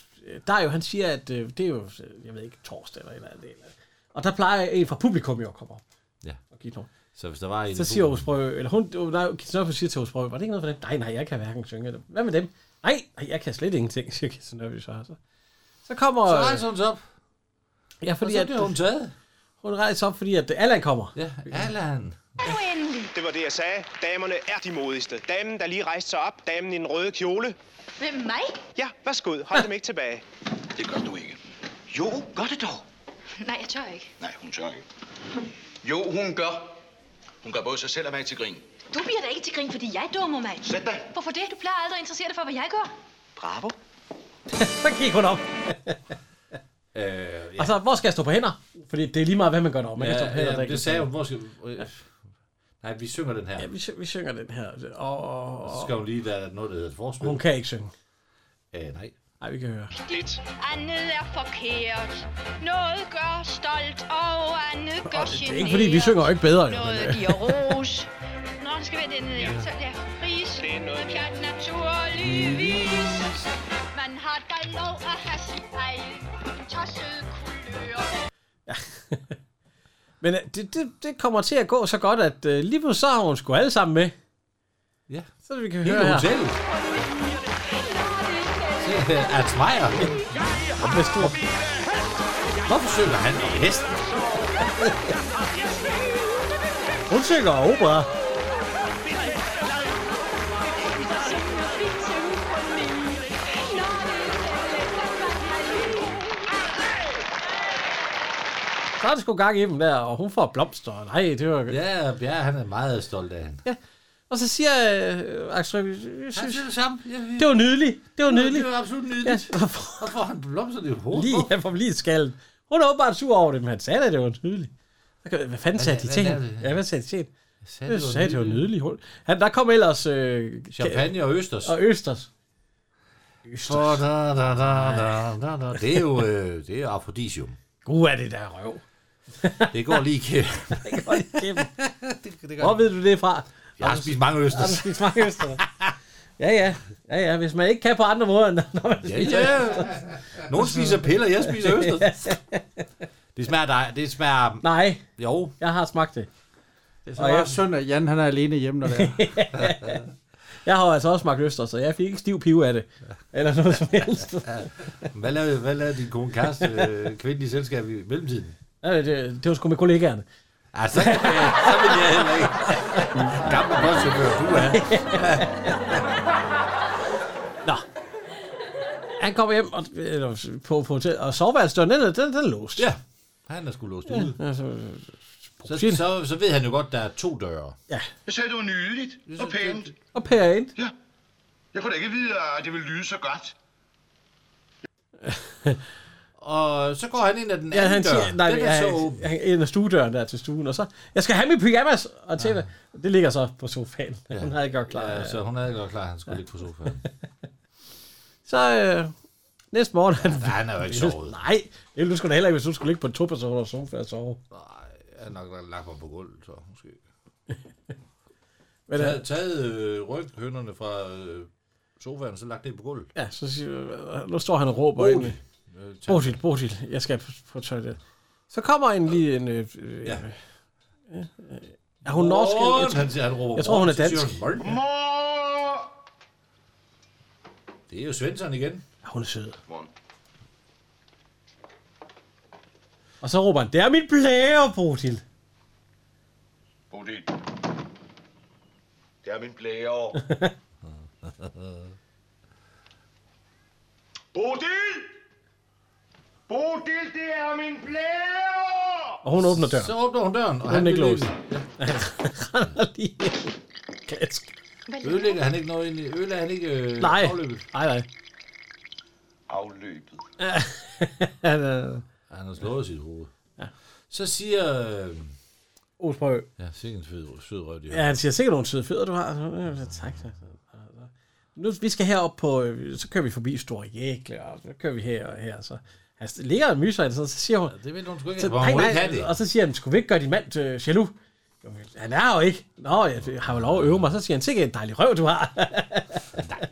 A: der er jo, han siger, at øh, det er jo, øh, jeg ved ikke, torsdag eller et eller andet. Eller... Og der plejer en fra publikum jo at komme op.
B: Ja.
A: Og give nogen.
B: Så hvis der var en...
A: Så siger Osprø, eller hun, øh, nej, Kitsunøbe siger til Osprø, var det ikke noget for dem? Nej, nej, jeg kan hverken synge eller... Hvad med dem? Nej, nej, jeg kan slet ingenting, siger Kitsunøbe så. Så, så kommer...
B: Så
A: øh,
B: rejser hun sig op.
A: Ja, fordi
B: Og så
A: at...
B: bliver hun taget.
A: Hun rejser op, fordi at Allan kommer.
B: Ja, Allan.
L: Det var det, jeg sagde. Damerne er de modigste. Damen, der lige rejste sig op. Damen i den røde kjole.
E: Hvem mig?
L: Ja, værsgo. Hold dem ikke tilbage. Det gør du ikke.
D: Jo, gør det dog.
E: Nej, jeg tør ikke.
D: Nej, hun tør ikke. Jo, hun gør. Hun gør både sig selv og mig til grin.
E: Du bliver da ikke til grin, fordi jeg dummer mig.
D: Sæt dig.
E: Hvorfor det? Du plejer aldrig at interessere dig for, hvad jeg gør.
D: Bravo.
A: så gik hun op.
B: Øh,
A: Ja. Og så, hvor skal jeg stå på hænder? Fordi det er lige meget, hvad man gør deroppe. Man kan stå på hænder,
B: ja,
A: der
B: ja,
A: ikke
B: det
A: er
B: sagde hun.
A: stå-
B: Hvor skal... øh, Nej, vi synger den her.
A: Ja, vi, sy- vi synger den her. Og, og,
B: Og så skal hun lige, der er noget, der hedder et forspil.
A: Hun kan ikke synge.
B: Øh, nej.
A: Nej, vi kan høre.
J: Lidt. Andet er forkert. Noget gør stolt, og andet gør generet.
A: Det er ikke fordi, vi synger jo ikke bedre. Jo,
J: Noget
A: men, øh,
J: giver ros. Nå, det skal være den her. Så ja, ris. Noget pjat naturligvis. Man har da lov at have sin egen tossede kulør.
A: men øh, det, det, det kommer til at gå så godt, at øh, lige pludselig så har hun sgu alle sammen med.
B: Ja.
A: Så vi kan
B: Hele
A: høre her.
B: hotellet. øh, Ernst Meyer.
A: Og med stor.
B: Hvorfor synger han om hesten?
A: Hun synger opera. Så er det sgu gang i dem der, og hun får blomster. Nej, det var...
B: Ja, ja, han er meget stolt af hende.
A: Og så siger øh, Axel, jeg synes,
B: det samme. Ja,
A: det var nydeligt. Det var
B: Det var-
A: nydeligt.
B: det var absolut nydeligt.
A: Ja, og for-
B: Og får han blomster i hovedet.
A: lige, jeg får lige skallen. Hun er åbenbart sur over det, men han sagde, at det var nydeligt. Så kan- Hvad fanden
B: Hvad-
A: sagde de
B: hvad
A: til
B: lavede
A: hende?
B: det?
A: Ja, hvad sagde de til hende? Jeg
B: sagde, det var
A: sagde, det var
B: nydeligt.
A: nydeligt. Hun- Han, der kom ellers... Øh,
B: Champagne og østers.
A: Og Østers.
B: For da, da, da, da, da, da. Det er jo øh, det er afrodisium.
A: Uh, er det der røv.
B: Det går lige igennem.
A: det går lige igennem.
C: det
A: Hvor ved du det fra?
B: Jeg har spist mange østers.
A: Jeg har spist mange østers. Ja, ja. Ja, ja. Hvis man ikke kan på andre måder, end når man
B: Ja,
A: spiser
B: ja.
A: østers.
B: Nogen spiser piller, jeg spiser østers. Det smager dig. Det smager...
A: Nej.
B: Jo.
A: Jeg har smagt det.
C: Det er så
A: Og jeg-
C: også synd, at Jan han er alene hjemme, når det er.
A: Jeg har jo altså også smagt østers, så jeg fik ikke stiv pive af det. Eller noget som helst.
B: Hvad lavede, hvad lavede din kone kæreste øh, kvindelige selskab i mellemtiden?
A: Ja, det, det var sgu med kollegaerne.
B: Altså, så, så vil jeg heller ikke. Gammel postchauffør, du er.
A: Nå. Han kom hjem og, eller, på, på hotel, og soveværelset, den, er- den, den er låst.
B: Ja. Han er sgu låst ude.
A: altså,
B: Så, så, så ved han jo godt, der er to døre.
A: Ja.
D: Jeg sagde, det var nydeligt og pænt.
A: Og pænt.
D: Ja. Jeg kunne da ikke vide, at det ville lyde så godt.
B: Og så går han ind ad den
A: Ja,
B: anden
A: han
B: dør.
A: siger, nej,
B: den
A: den
B: er så
A: ja,
B: åben.
A: han, ind af stuedøren der til stuen, og så, jeg skal have min pyjamas og tv. Det ligger så på sofaen. Ja. Hun havde ikke gjort klar.
B: Ja, så hun havde godt klar, at han skulle ligge på sofaen.
A: Så øh, næste morgen... Ja,
B: han er jo ikke sovet.
A: Nej, det ville du sgu da heller ikke, hvis du skulle ligge på en topersovn og sofa og sove.
B: Jeg har nok lagt mig på gulvet, så måske.
A: Men,
B: Men,
A: øh,
B: taget taget øh, ryghønderne fra øh, sofaen, og så lagt det på gulvet.
A: ja, så siger, nu står han og råber ind. i-
B: Øh, tag-
A: Bodil, Bodil, jeg skal på, på toilet. Så kommer en lige en... Øh, øh, ja. Er hun norsk? Jeg,
B: Morgen,
A: jeg,
B: han siger, han råber
A: jeg, jeg tror, hun er
B: morgen, så siger
A: dansk.
B: hun, "Morgen." Det er jo Svensson igen.
A: Ja, hun er sød. Og så råber han, det er min blære, Bodil.
D: Bodil. Det er min blære. Bodil! Bodil, det er min blære!
A: Og hun åbner døren.
B: Så åbner hun døren, og
A: Hun
B: han
A: er ikke
B: vil
A: låst.
B: ikke-
A: Han render lige Kask.
B: Ødelægger han ikke noget ind i? Ødelægger han ikke øh,
A: Nej,
B: afløbet?
A: nej, nej.
D: Afløbet.
A: Han, øh,
B: Han har slået sit hoved. Ja. Så siger... Øh,
A: Osprø.
B: ja, sikkert en fed, sød røv, de
A: Ja, han siger sikkert nogle søde fødder, du har. Så, øh, Tak. tak. Nu, vi skal herop på, øh, så kører vi forbi Store Jækle, og så kører vi her og her. Så han st- ligger og myser, og så så siger hun,
B: Det vil hun sgu ikke.
A: så,
B: Hvor hun ikke have det.
A: og så siger han, skulle vi ikke gøre din mand øh, jaloux? Jo, men Han er jo ikke. Nå, jeg har jo lov at øve mig. Så siger han, sikkert en dejlig røv, du har.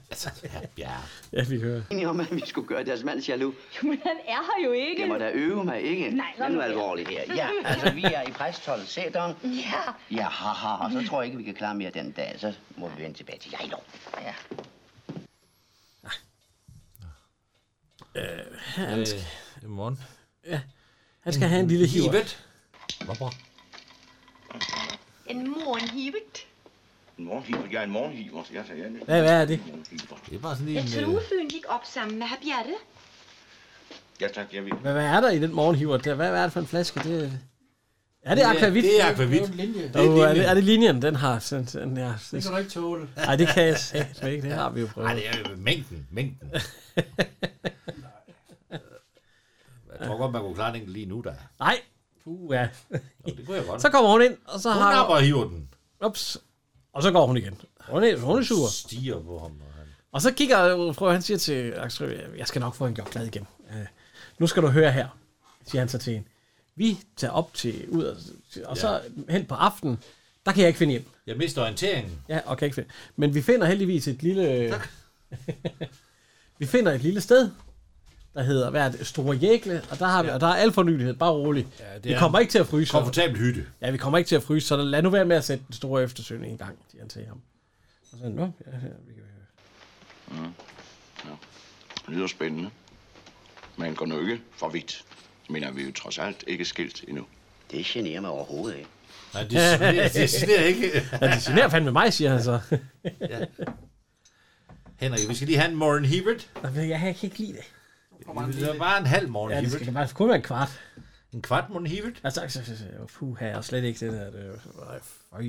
B: altså, ja.
A: ja, vi hører.
H: Enige om, at vi skulle gøre altså, deres mand jaloux.
M: Men han er her jo ikke.
H: Jeg må da øve mig, ikke?
M: Nej, nå
H: Vær nu
M: nu.
H: alvorlig her. Ja, altså, vi er i præstholdet Sædon.
M: Ja.
H: Ja, haha, og så tror jeg ikke, vi kan klare mere den dag. Så må vi vende tilbage til jeg lov. Ja.
A: Øh, han, skal,
B: I morgen.
A: ja, han skal have en lille hiver.
B: Hivet. Hvorfor?
J: En morgenhivet.
D: En morgenhiver. Jeg er en morgenhiver. Jeg sagde, jeg
A: Hvad, hvad er det?
B: Det er bare sådan øh,
J: Jeg tror, Fyn gik op sammen med herr Bjerre.
D: Ja, tak. Jeg vil.
A: Hvad, hvad er der i den morgenhiver? Der? Hvad, hvad er det for en flaske? Det, er det
C: Det er-
A: akvavit?
C: det er akvavit. Det er jo en linje. Det er
A: Åh, er,
C: linjen.
A: det, er det linjen, den har? Sådan, sådan, ja.
C: Det kan du ikke tåle.
A: Nej, det kan jeg satme ikke. Det har vi jo prøvet.
B: Nej, det er jo mængden. Mængden. Jeg tror godt, man kunne klare den lige nu, der.
A: Nej. Puh, ja.
B: Det kunne jeg godt.
A: Så kommer hun ind, og så
B: hun
A: har...
B: napper og hiver den.
A: Ups. Og så går hun igen. Hun er, hun er sur.
B: Stiger på ham. og han-
A: Og så kigger prøver han siger til Axel, jeg skal nok få en gjort glad igen. Øh, nu skal du høre her, siger han så til hende. Vi tager op til ud, og, og så hen på aftenen, der kan jeg ikke finde hjem.
B: Jeg mister orienteringen.
A: Ja, og kan ikke finde. Men vi finder heldigvis et lille... vi finder et lille sted, der hedder, hvad er det, Store Jækle, og der, har vi, og der er al fornyelighed, bare rolig. Ja, vi
B: er
A: kommer
B: en
A: ikke til at fryse.
B: komfortabel hytte.
A: Ja, vi kommer ikke til at fryse, så lad nu være med at sætte den store eftersøgning i gang, siger han til ham. Og så, nå, ja, ja, vi kan
D: Mm. Ja. Det lyder spændende. Man går nu ikke for vidt. Men er vi jo trods alt ikke skilt endnu.
H: Det generer mig overhovedet ikke.
B: Nej,
A: det generer- det generer ikke. Ja, det generer fandme mig, siger han så.
B: ja. Henrik, vi skal lige have en Morgen Hibbert.
A: Jeg, jeg kan ikke lide det.
B: Det er bare en halv Morgen
A: Ja, det
B: Hibbert.
A: skal bare kun være en kvart.
B: En kvart Morgen Hibbert?
A: Altså, altså, altså, altså, puha, jeg er slet ikke det der. Det, er jo- nej, føj.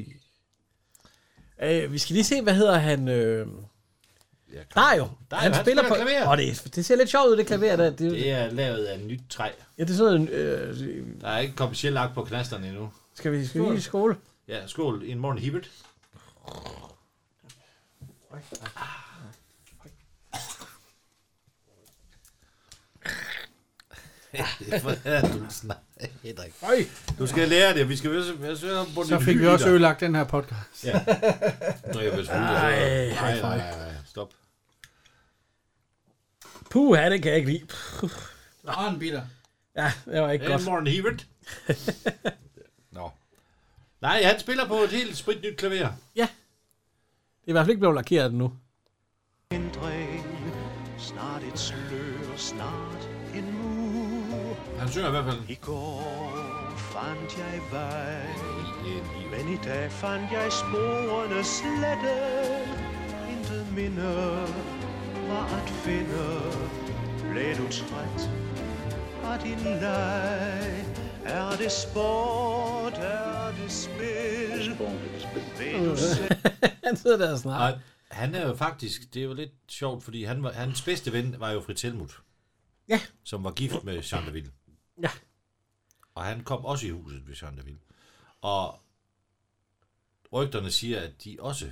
A: Øh, vi skal lige se, hvad hedder han? Øh...
B: Ja,
A: Dario.
B: Dario, han spiller klaver.
A: Åh, det, det ser lidt sjovt ud, det klaver der. Det,
B: Det er lavet af nyt træ.
A: Ja, det er sådan en... Øh,
B: Der er ikke kommersiel lagt på knasterne endnu.
A: skal vi, skal vi i skole?
B: Ja, skål. En Morgen Hibbert. det er du snakker, Henrik. Du skal lære det. Vi skal vise, jeg synes, på
C: Så fik vi også ødelagt den her podcast.
B: Ja. Nå, jeg vil selvfølgelig.
C: Ej,
B: nej, nej, nej, stop.
A: Puh, det kan jeg ikke lide.
C: Nå, en bitter.
A: Ja, det var ikke
B: Hey,
A: godt.
B: Morten Hebert. Nå. Nej, han spiller på et helt spritnyt klaver.
A: Det er i hvert fald ikke blevet lakeret endnu.
K: En dreng, snart et slør, snart en mur.
B: Han synger i hvert fald.
K: I går fandt jeg vej, men i dag fandt jeg sporene slette. Intet minde var at finde. Blev du træt af din leg? Er det sport? Er det spil? Ved du selv?
A: han sidder der og snakker.
B: Og han er jo faktisk, det er jo lidt sjovt, fordi han var, hans bedste ven var jo Fritz Helmut.
A: Ja.
B: Som var gift med Jean de Ville.
A: Ja.
B: Og han kom også i huset ved Jean de Ville. Og rygterne siger, at de også...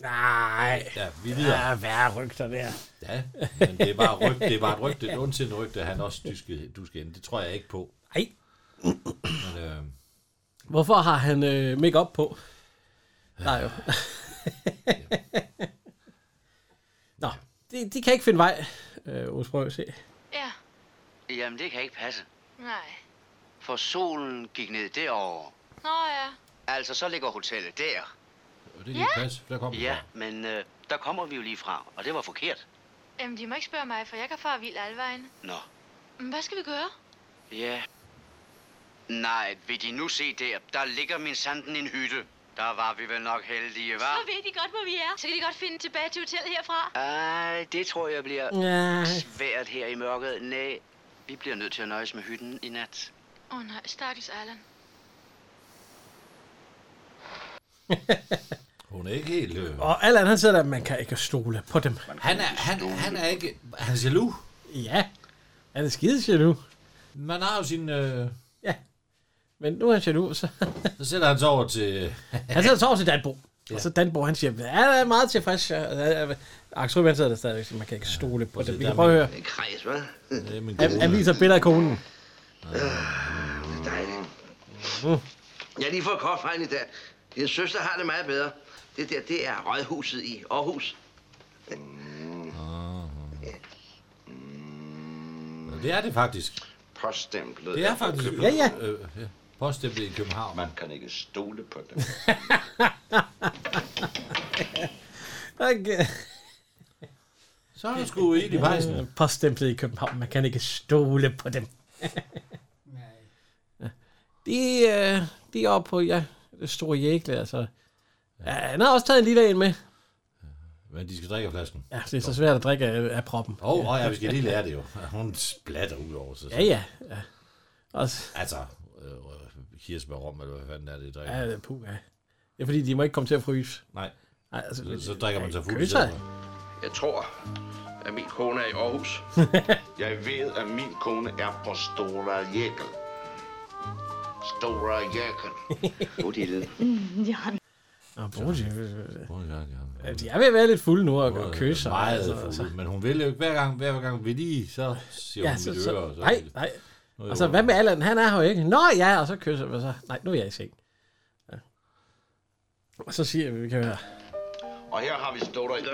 A: Nej.
B: Ja, vi videre.
A: Ja, hvad er rygter der?
B: Ja, men det er bare rygte, det er bare et rygte, et ondsindet rygte, at han også du skal, du skal ind. Det tror jeg ikke på.
A: Nej.
B: Men, øh,
A: Hvorfor har han øh, make op på? Nej jo. Nå, de, de kan ikke finde vej. Øh, Osbro, prøv at se.
H: Jamen, det kan ikke passe.
J: Nej.
H: For solen gik ned derovre.
J: Nå ja.
H: Altså, så ligger hotellet der.
B: Det
J: kan ikke Ja.
B: passe, der kommer
H: Ja, men øh, der kommer vi jo lige fra, og det var forkert.
J: Jamen, de må ikke spørge mig, for jeg kan fare vild alvejen.
H: Nå,
J: Men hvad skal vi gøre?
H: ja. Nej, vil de nu se der? Der ligger min sanden en hytte. Der var vi vel nok heldige,
J: Så
H: var?
J: ved de godt, hvor vi er. Så kan de godt finde tilbage til hotellet herfra.
H: Ej, det tror jeg bliver
A: Mm. Ja.
H: svært her i mørket. Nej, vi bliver nødt til at nøjes med hytten i nat.
J: Åh oh, nej, Stakkels Allan.
B: hun er ikke helt... Øh,
A: Og Allan, han sidder der, man kan ikke stole på dem.
B: han, er, han, han er ikke... Han er jaloux.
A: Ja, han er skide jaloux.
B: Man har jo sin... Øh,
A: Men nu er han jaloux, så...
B: så sætter han sig over til... øh,
A: Han sidder og sover til Danbo.
B: Ja.
A: Ja. Og så Danbo, han siger, ja, jeg er meget tilfreds. ja." Og, ja, ja, Axel Rødvand sidder der stadigvæk, så man kan ikke stole på det. Vi kan prøve at høre.
H: En kreds, hva'?
B: Det er øh, min
A: Han, han viser billeder af konen.
H: Dejligt. Jeg er lige fået kort fra hende i dag. Din søster har det meget bedre. Det der, det er Rødhuset i Aarhus.
B: Det er det faktisk.
D: Poststemplet.
B: Det er faktisk...
D: København.
A: Ja, ja.
B: Øh, ja. Poststemplet i København.
D: Man kan ikke stole på dem.
A: Okay.
B: Så er der sgu ild i pejsen.
A: Øh, Poststemplet i København, man kan ikke stole på dem. Ja. de, øh, de er oppe på, ja, det store jægle, altså. Ja, han har også taget en lille en med.
B: Men de skal drikke af flasken.
A: Ja, det er så svært at drikke af, af proppen.
B: Åh, oh, ja, vi skal lige lære det jo. Hun splatter ud over sig.
A: Ja, ja. ja. Også,
B: Altså, øh, kirsebær rom, eller hvad fanden er det, I drikker?
A: ja, det- puh, ja. Det er fordi, de må ikke komme til at fryse.
B: Nej.
A: Nej, altså,
B: Så, så drikker man sig fuld i
A: Køs sig.
B: stedet for.
D: Jeg tror, at min kone er i Aarhus. Jeg ved, at min kone er på Stora Jækel. Stora Jækel.
H: Bodil.
M: Ja,
A: Nå, brug det.
B: Åh, ja, ja.
A: Ja, de er ved at være lidt fulde nu og, og kysse sig.
B: Meget
A: Altså, altså.
B: fuld, men hun vil jo ikke hver gang, hver gang vil de, så siger
A: Ja,
B: hun
A: så,
B: mit øre.
A: så,
B: og
A: nej, altså, nej.
B: Nå, jo.
A: Og så, hvad med Allan? Han er her jo ikke. Nå ja, og så kysser vi så. Nej, nu er jeg i seng. Ja. Og så siger vi, vi kan høre.
D: Og her har vi Stora Jækel.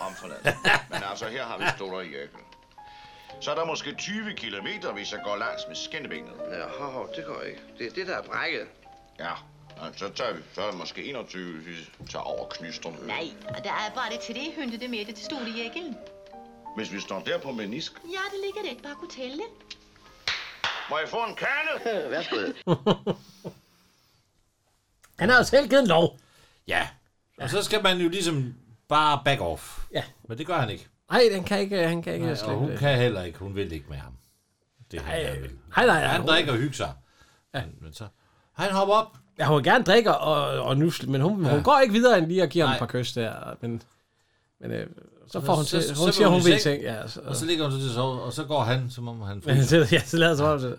D: Om forladt. Men altså, her har vi Stora Jækel. Så er der måske 20 kilometer, hvis jeg går langs med skinnebenet.
H: Ja, hov, hov, det går ikke. Det er det, der er brækket.
D: Ja, og så tager vi. Så er der måske 21, hvis vi tager over knystrum.
E: Nej, og der er bare det til det, hønte det med det til store jækkel.
D: Hvis vi står der på menisk.
E: Ja, det ligger det ikke bare kunne tælle.
D: Må jeg få en kande?
H: Værsgo.
A: Han har jo selv givet en lov.
B: Ja. Og så skal man jo ligesom bare back off.
A: Ja.
B: Men det gør han ikke.
A: Nej, han kan ikke, øh, han kan ikke
B: Nej, og
A: slippe
B: hun
A: det.
B: kan heller ikke. Hun vil ikke med ham. Det er han, der vil.
A: Nej, nej, nej.
B: Han
A: hun-
B: drikker og hygger sig. Ja. Men, men så... Han hopper op.
A: Ja, hun vil gerne drikke og, og nusle, men hun, ja. hun går ikke videre end lige at give ham
B: Nej.
A: et par kys der. Men, men øh, så
B: Og
A: får hun
B: så-
A: til,
B: så-
A: hun
B: så
A: siger, hun vil i
B: seng.
A: seng. Ja, så,
B: Og så ligger hun så til at sove, og så går han, som om han
A: men,
B: fryser.
A: så, ja, så lader som om det.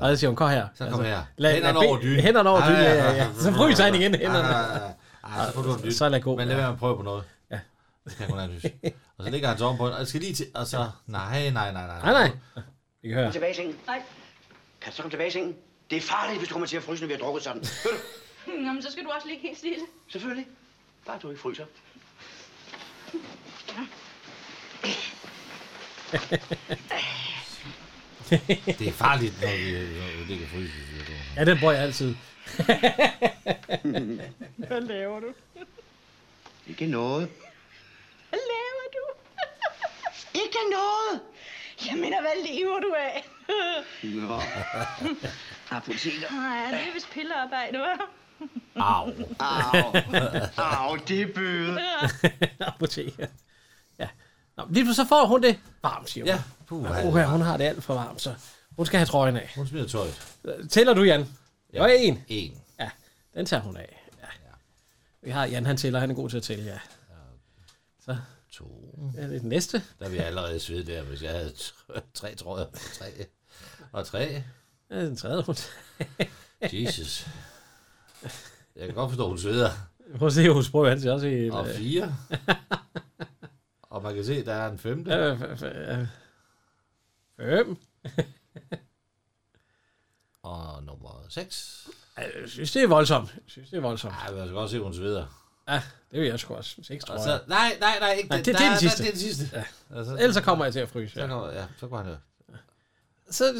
A: Og så siger hun, kom her. Altså,
B: Så kom her.
A: Lad,
B: Hænderne
A: lad,
B: over dynen.
A: Hænderne over dynen, ja, ja,
B: Ah,
A: ja. Så fryser han igen
B: ah,
A: hænderne.
B: ah, ah, ah, Så får du en dyne.
A: Så er det god.
B: Men lad være med at prøve på noget.
A: Ja.
B: Ja, hun er lys. Og så ligger han så ovenpå, og jeg skal lige til, og så, nej, nej, nej, nej.
A: Nej, nej. I kan høre.
H: Kom tilbage i sengen. Nej. Kan du så komme tilbage i sengen? Det er farligt, hvis du kommer til at fryse, når vi har drukket sådan. Hør du?
J: Nå, men så skal du også ligge helt stille.
H: Selvfølgelig. Bare du ikke fryser.
B: Det er farligt, når vi, når vi ligger fryset. siger du.
A: Ja, den bruger jeg altid.
H: Hvad laver du? Ikke noget.
J: Hvad laver du? Ikke noget! Jeg mener, hvad lever du af?
H: Nå. Apoteker.
J: Nej, det er vist pillearbejde, hva'?
B: Au.
H: Au. Au, det er bøde.
A: Apoteker. Ja. Nå, men lige pludselig så får hun det varmt, siger hun.
B: Ja. Puh,
A: Ja. Uha, hun har det alt for varmt, så hun skal have trøjen af.
B: Hun smider tøjet.
A: Tæller du, Jan? Ja. Og en.
B: En.
A: Ja, den tager hun af. Ja. Vi har Jan, han tæller, han er god til at tælle, ja. Så.
B: To.
A: Ja, det er den næste.
B: Der ville jeg allerede svede der, hvis jeg havde t- tre trøjer. Tre. Og tre.
A: Ja, det er den tredje runde.
B: Jesus. Jeg kan godt forstå, hun sveder.
A: Prøv at se, hos Brø, han ser også helt...
B: Og
A: øh,
B: fire. Og man kan se, der er en femte.
A: Ja, f- f- ja. Øhm.
B: Og nummer 6.
A: Ej, Jeg synes, det er voldsomt. Jeg synes, det er voldsomt.
B: Ej, man skal godt se, hun sveder.
A: Ja, det vil jeg sgu også. Seks, tror
B: Og så,
A: jeg.
B: nej, nej, nej, ikke
A: Nej,
B: den.
A: det, det,
B: Der
A: er den sidste.
B: Der, det er den sidste.
A: Ja.
B: Og så-
A: Ellers så kommer jeg til at fryse.
B: Så
A: Ja.
B: går, ja, så går han jo.
A: Så, så,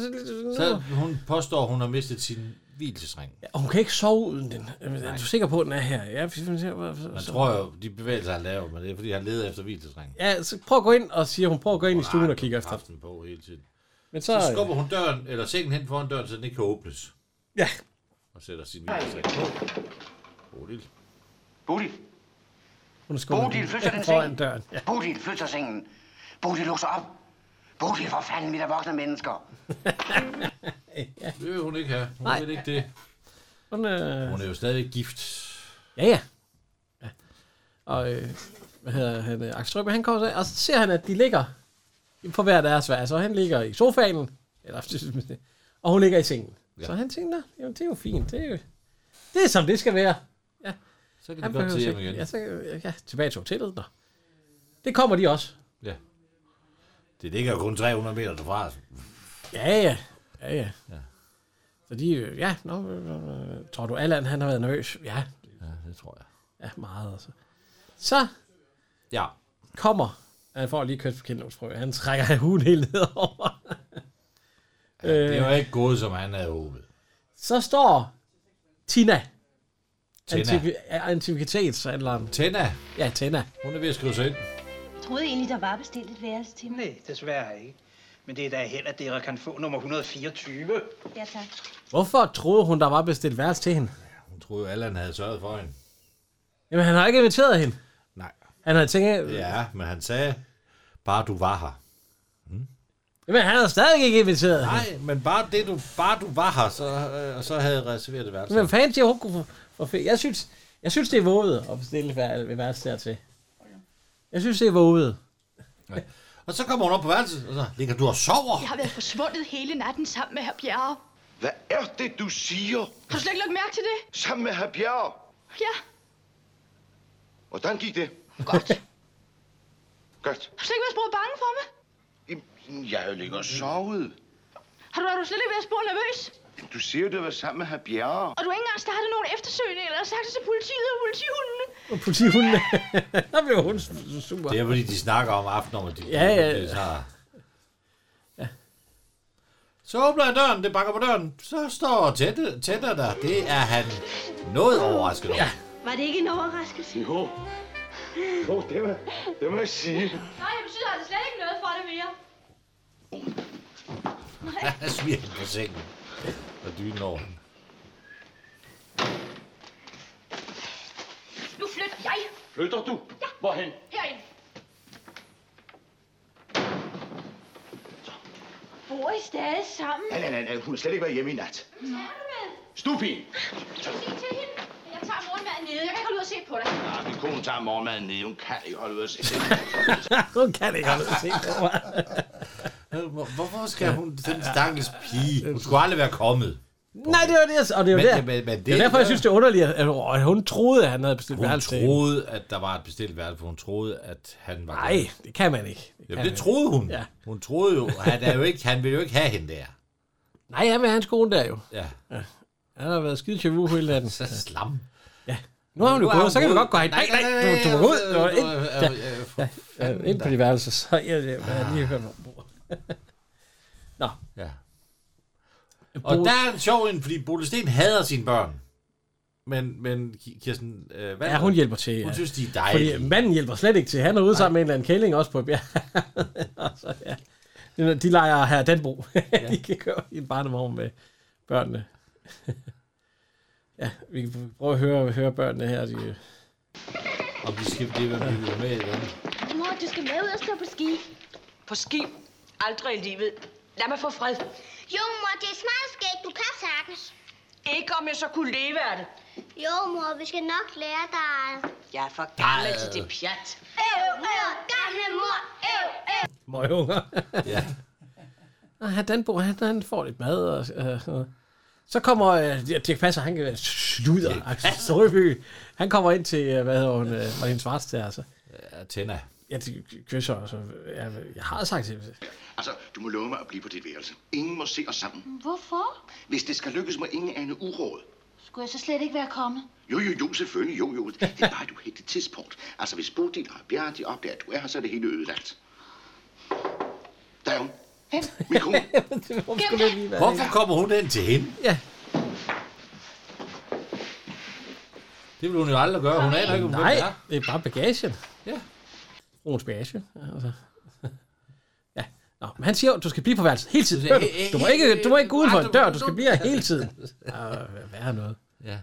A: så,
B: Så hun påstår, hun har mistet sin hvilesring.
A: Og hun kan ikke sove uden den. Øh, Er du sikker på, at den er her? Ja, hvis man ser, så,
B: Man
A: så-
B: tror jo, de bevægelser, han laver, men det er, fordi han leder efter hvilesringen.
A: Ja, så prøv at gå ind og siger, hun prøver at gå ind i stuen og kigge efter.
B: den på hele tiden.
A: Men så,
B: Så, så skubber hun døren, eller sengen hen foran døren, så den ikke kan åbnes.
A: Ja.
B: Og sætter sin hvilesring på. Bodil.
H: Bodil.
A: hun skubber
H: Bodil, flyt dig den
A: foran
H: seng.
A: døren. Ja.
H: Bodil, flyt dig sengen. Bodil, luk så op. Bodil, for fanden, vi er da voksne mennesker.
B: Det vil hun ikke have. Hun
A: Nej.
B: vil ikke det.
A: Hun, øh,
B: Hun er jo stadig gift.
A: Ja, ja. ja. Og øh, hvad hedder han? Øh, Axel Strøbye, han kommer så, og så ser han, at de ligger på hver deres vær. Så han ligger i sofaen, eller, og hun ligger i sengen. Ja. Så han tænker, "Nå, jamen, det er jo fint. Det er, jo, det er som det skal være. Ja.
B: Så kan
A: Han
B: de godt
A: behøver
B: til hjem
A: ikke-
B: igen.
A: Ja, så, øh, ja, tilbage til hotellet. Nå. Det kommer de også.
B: Ja. Det ligger jo kun 300 meter derfra. altså.
A: Ja, ja. Ja, ja.
B: Ja.
A: Så de, øh, ja, nå, øh, øh, tror du, Allan, han har været nervøs? Ja,
B: Ja, det tror jeg.
A: ja meget. Altså. Så
B: Ja.
A: kommer, han får lige kørt forkendelsesprøve, han trækker huden helt ned over.
B: Det var ikke gået, som han havde håbet.
A: Så står Tina.
B: Tina.
A: Antivi- Antikvitetshandleren.
B: Tina.
A: Ja, Tina.
B: Hun er ved at skrive sig ind.
N: Troede egentlig, der var bestilt et værelse til mig? Nej, desværre ikke. Men det er da held, at dere kan få nummer 124.
E: Ja, tak.
A: Hvorfor troede hun, der var bestilt værelse til hende?
B: Hun troede jo, Allan havde sørget for hende.
A: Jamen, han har ikke inviteret hende.
B: Nej.
A: Han havde tænkt,
B: Ja, men han sagde, bare du var her.
A: jamen, han har stadig ikke inviteret hende.
B: Nej, men bare, det, du, bare du var her, så, øh, og så havde jeg reserveret et værelse.
A: Hvem fanden siger, hun kunne få- få ferie? Jeg synes, jeg synes, det er våget at bestille vær- ved værelse dertil. Jeg synes, det er våget.
B: Og så kommer hun op på værelset, og så ligger du og sover.
J: Jeg har været forsvundet hele natten sammen med herr Bjerre.
D: Hvad er det, du siger?
J: Har du slet ikke lagt mærke til det?
D: Sammen med herr Bjerre.
J: Ja,
D: Hvordan gik det? Godt.
J: har du slet ikke været spor bange for mig?
D: Godt. Jeg ligger og sovet.
J: Har du, har du slet ikke været spor nervøs?
D: Du siger, du var sammen med herr Bjerre.
J: Og du har ikke engang startet nogen eftersøgning eller sagt det til politiet og politihundene?
A: Og politihunden, der blev hun super.
B: Det er fordi, de snakker om aftenen, om at de
A: Ja, ja.
B: de tager. Så åbner jeg døren, det banker på døren. Så står Tette, Tette der. Det er han noget overrasket over. Ja.
E: Var det ikke en overraskelse?
D: Jo. Jo, det, var, det må jeg sige.
J: Nej, jeg betyder altså slet ikke noget for det mere.
B: Jeg smiger hende på sengen. Og dynen over hende.
J: Nu flytter jeg
D: Flytter du? Ja. Hvorhen?
J: herind. Bor I stadig sammen?
D: Nej, nej, nej, nej. Hun har slet ikke været hjemme i nat. Stupi!
J: Sig til hende, at jeg tager morgenmaden nede. Jeg kan ikke holde ud og se på dig.
D: Ah, min kone tager morgenmaden ned. Hun kan ikke holde ud at se.
A: hun kan ikke holde ud at se på mig.
B: Hvorfor skal hun, den stakkels pige, hun skulle aldrig være kommet.
A: Nej, det var det, jeg s- og det var
B: Men-
A: der.
B: men- men det-
A: det var derfor, jeg synes, det er underligt, at, at hun troede, at han havde bestilt
B: Hun
A: værelse. til hende.
B: troede, at der var et bestilt værelse, for hun troede, at han var...
A: Nej, det kan man ikke.
B: Det, Jamen,
A: kan
B: det
A: man
B: troede
A: ikke.
B: hun.
A: Ja.
B: Ja. Hun troede jo, han, er jo ikke, han ville jo ikke have hende der.
A: Nej, han vil have hans kone der jo.
B: Ja.
A: ja. Han har været skide jaloux hele natten. Så
B: slam.
A: Ja. Nu har hun jo
B: Nu er
A: gået, så kan vi
B: hun
A: godt gå hen. Nej,
B: ude.
A: nej,
B: Nej,
A: nej,
B: nej,
A: du, du må gå
B: nej,
A: ud.
B: nej,
A: Og ind,
B: nej,
A: ja,
B: nej, nej, for
A: ja, ja,
B: fanden
A: ind på
B: da.
A: de værelser, så jeg, jeg, jeg lige hørt nogle ord. Nå.
B: Ja. Og der er en sjov en, fordi Bolle Sten hader sine børn. Men, men Ki- Kirsten... Øh, hvad
A: Ja, hun hjælper til.
B: Hun
A: ja.
B: synes, de er dejlige.
A: Fordi manden hjælper slet ikke til. Han er ude sammen med en eller anden kælling også på et bjerg. Og så, ja. De- De leger her Danbro. de kan køre i en barnevogn med børnene. ja, vi kan prøve at høre, høre børnene her. De...
B: Om de skal blive med igen.
O: Mor, du skal med ud og stå på ski. På ski? Aldrig i livet. Lad mig få fred.
P: Jo, mor, det er smart skægt. Du kan sagtens.
O: Ikke om jeg så kunne leve af det.
P: Jo, mor, vi skal nok lære dig.
O: Jeg er for gammel til det pjat.
P: Øv, øv, gamle mor. Øv, øv.
A: Møgunger.
B: ja.
A: Og her Danbo, han, han får lidt mad og øh, sådan noget. Så kommer øh, ja, Dirk Passer, han øh, sluder. Axel Strøby. Han kommer ind til, øh, hvad hedder hun, øh, Marlene Svarts der, altså.
B: Ja, Tænder.
A: Ja, de kysser, og så, ja, jeg har sagt til dem.
D: Altså, du må love mig at blive på dit værelse. Ingen må se os sammen.
E: Hvorfor?
D: Hvis det skal lykkes, må ingen ane uråd.
E: Skulle jeg så slet ikke være kommet?
D: Jo, jo, jo, selvfølgelig, jo, jo. Det er bare et uheldigt tidspunkt. Altså, hvis Bodil og Bjerre, de opdager, at du er her, så er det hele ødelagt. Der er hun.
O: Hvem?
D: Min kone.
B: Hvorfor kommer hun ind til hende?
A: Ja.
B: Det vil hun jo aldrig gøre. Hun aner ikke, hvem
A: Nej,
B: det er.
A: det er bare bagagen.
B: Ja.
A: Brugens bagage. Altså. Ja. Nå, men han siger jo, du skal blive på værelset hele tiden.
B: Du-
A: Hør du? Du må ikke, du må ikke gå uden for en dør, du skal blive her hele tiden. Ja, hvad er noget?
B: Ja.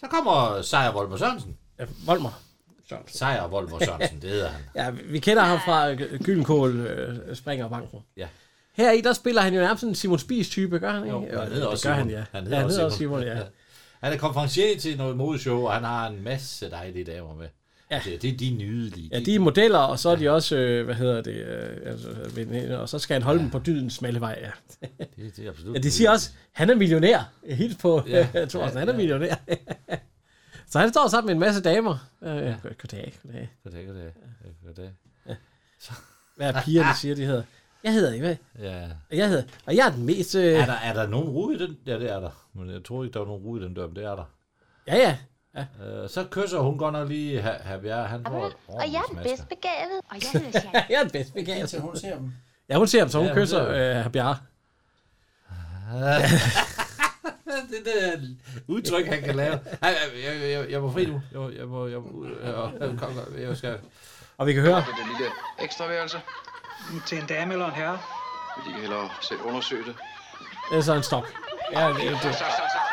B: Så kommer Sejr Volmer Sørensen.
A: Ja, Volmer. Sørensen.
B: Sejr Volmer Sørensen, det hedder han.
A: Ja, vi vi kender ham fra øh, Gyllenkål øh, Springer og Banken.
B: Ja.
A: Her i, der spiller han jo nærmest sådan en Simon Spies type, gør han ikke?
B: Jo,
A: Jo,
B: han
A: det
B: hedder også
A: gør
B: Simon.
A: Han, ja.
B: han
A: ja,
B: hedder også Simon,
A: ja.
B: Han er konferencier til noget modeshow, og han har en masse dejlige damer med. Ja. Det, det er de nydelige.
A: Ja, de er modeller, og så er de også, øh, hvad hedder det, øh, altså, veninder, og så skal han holde ja. dem på dydens smalle vej. Ja.
B: Det, det er absolut
A: Ja, de siger også, han er millionær. Helt på
B: Ja,
A: ja, Thorsten, han er
B: ja, ja.
A: millionær. så han står sammen med en masse damer. Øh, ja. Goddag, goddag.
B: Goddag, goddag. Goddag.
A: Hvad er
B: Ah,
A: pigerne siger, de hedder? Jeg hedder Eva.
B: Ja.
A: Og jeg hedder, og jeg er den mest... Øh,
B: Er der, er der nogen rude i den? Ja, det er der. Men jeg tror ikke, der er nogen rude i den dør, men det er der.
A: Ja, ja.
B: ja. Øh, så kysser hun godt nok lige her, her Bjerre. Han får et ordentligt smask.
P: begavet. Og jeg
A: jeg er den bedst begavet.
C: Indtil hun ser dem.
A: Ja, hun ser ham, så hun
B: Ja,
A: ja,
B: hun
A: kysser
B: ser
A: øh, Bjarre.
B: det der udtryk, han kan lave. Ej, jeg, jeg, jeg, jeg må fri nu. Jeg, må- jeg, må, jeg, må, jeg, jeg, kom, kom, jeg skal...
A: Og vi kan høre.
D: Det lille ekstra værelse.
N: Til en dame eller en herre?
D: Vil de ikke hellere selv undersøge det?
A: Det er så en stok. Ja, det, det, det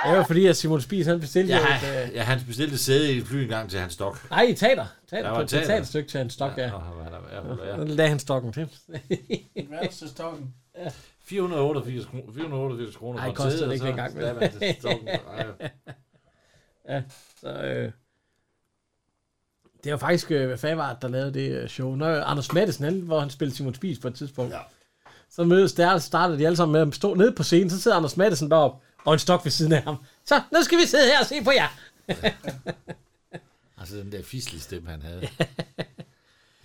A: er jo fordi, at Simon Spies, han bestilte
B: Ja,
A: ja. et...
B: han,
A: Øh,
B: ja, han bestilte et sæde i et fly en gang til hans stok.
A: nej, i teater.
B: Der
A: Teater,
B: var
A: på
B: et
A: et
B: teater.
A: teaterstykke til en stok, ja.
B: Nå, han var der, ja, hun var
A: Så
B: der.
A: lagde han stokken til.
C: En værelsestokken.
B: 488 kroner. 488 kroner.
A: Nej,
B: for et
A: kostede
B: sæde,
A: det
B: og
A: ikke dengang,
B: så-
A: vel?
B: Ja, men det står- Ej.
A: Ja, så... Øh, det er jo faktisk, øh, hvad fanden var det, der lavede det øh, show. Når Anders Madsen, han, hvor han spillede Simon Spies på et tidspunkt. Ja. Så mødes der, og startede de alle sammen med at stå nede på scenen. Så sidder Anders Madsen deroppe, og en stok ved siden af ham. Så, nu skal vi sidde her og se på jer.
B: Altså den der fislige stemme, han havde.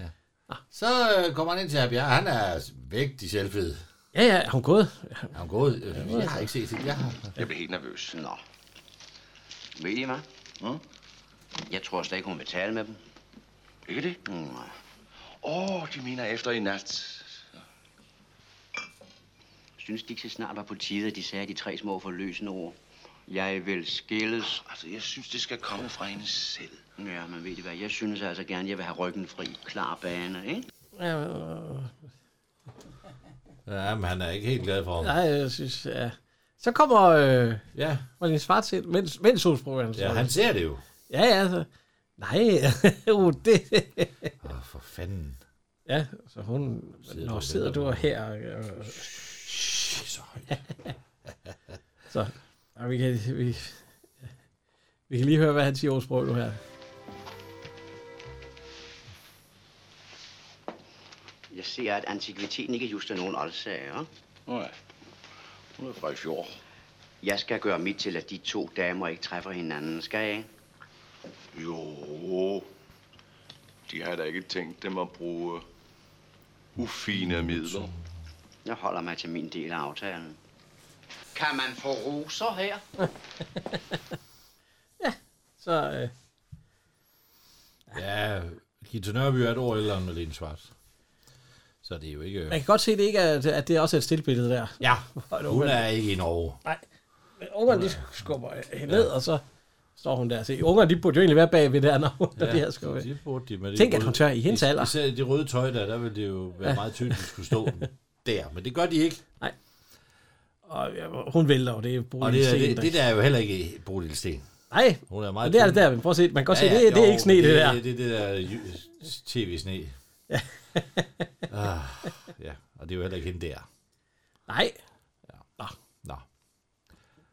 B: Ja.
A: Ah.
B: Så øh, kommer han ind til Herr Bjerre. Han er væk i selvfed.
A: Ja, ja, er hun gået?
B: Er hun gået? Øh, Jeg har ikke set det. Jeg har...
D: Jeg bliver helt nervøs.
H: Nå. Ved I hvad? Mm? Jeg tror slet ikke, hun vil tale med dem.
D: Ikke det?
H: Mm, nej.
D: Åh, oh, de mener efter i nat.
H: Synes de ikke så snart var på tide, at de sagde de tre små forløsende ord? Jeg vil skilles.
D: Altså, jeg synes, det skal komme fra hende selv.
H: Ja, men ved I hvad? Jeg synes altså gerne, jeg vil have ryggen fri. Klar bane, ikke?
A: Ja, øh,
B: Ja, men han er ikke helt glad for ham.
A: nej, jeg synes, ja. Så kommer øh,
B: Ja.
A: Marlene Svarts ind, mens, mens hun spruger.
B: Ja, han ser det jo.
A: Ja, ja, så. Nej, uh, det...
B: Åh, for fanden.
A: ja, så hun...
B: Sidder
A: Sidder
B: du
A: Nå,
B: og
A: sidder
B: venter
A: du
B: på-
A: her... Øh,
B: så højt.
A: så, og vi kan, vi, vi kan lige høre, hvad han siger over sprog nu her.
H: Jeg ser, at antikviteten ikke just er nogen oldsager.
D: Nej. Hun er fra i fjor.
H: Jeg skal gøre mit til, at de to damer ikke træffer hinanden, skal jeg ikke?
D: Jo, de har da ikke tænkt dem at bruge øh, ufine midler.
H: Jeg holder mig til min del af aftalen. Kan man få roser her?
A: Så, øh,
B: Ja, Gita Nørby er et år ældre end Malene Schwartz. Så det er jo ikke...
A: man kan godt se, det ikke er, at det også er et stillbillede der.
B: Ja,
A: Hvor det
B: hun
A: uheld.
B: er ikke i Norge.
A: Nej, men ungerne de skubber hende ned, og så står hun der. Så ungerne de burde jo egentlig være bagved der, når hun ja, det her skal
B: de burde de, men det
A: Tænk,
B: er
A: at hun
B: røde-
A: tør i hendes
B: is-
A: alder.
B: Især i det røde tøj der, der ville det jo være
A: Ja.
B: meget tydeligt, at de skulle stå der. Men det gør de ikke.
A: Nej. Og ja, hun vælter jo, det er Bodil
B: Og det, er,
A: Sten,
B: det, det der er jo heller ikke Bodil Sten.
A: Nej,
B: Hun er
A: men
B: meget
A: det er det
B: tynd.
A: der, men prøv at se, man kan godt se, det- det er ikke sne, det der.
B: Det, det, det der øh, ju- tv-sne.
A: Ja.
B: ah, ja, og det er jo heller ikke hende der.
A: Nej. Ja. Nå.
B: Nå.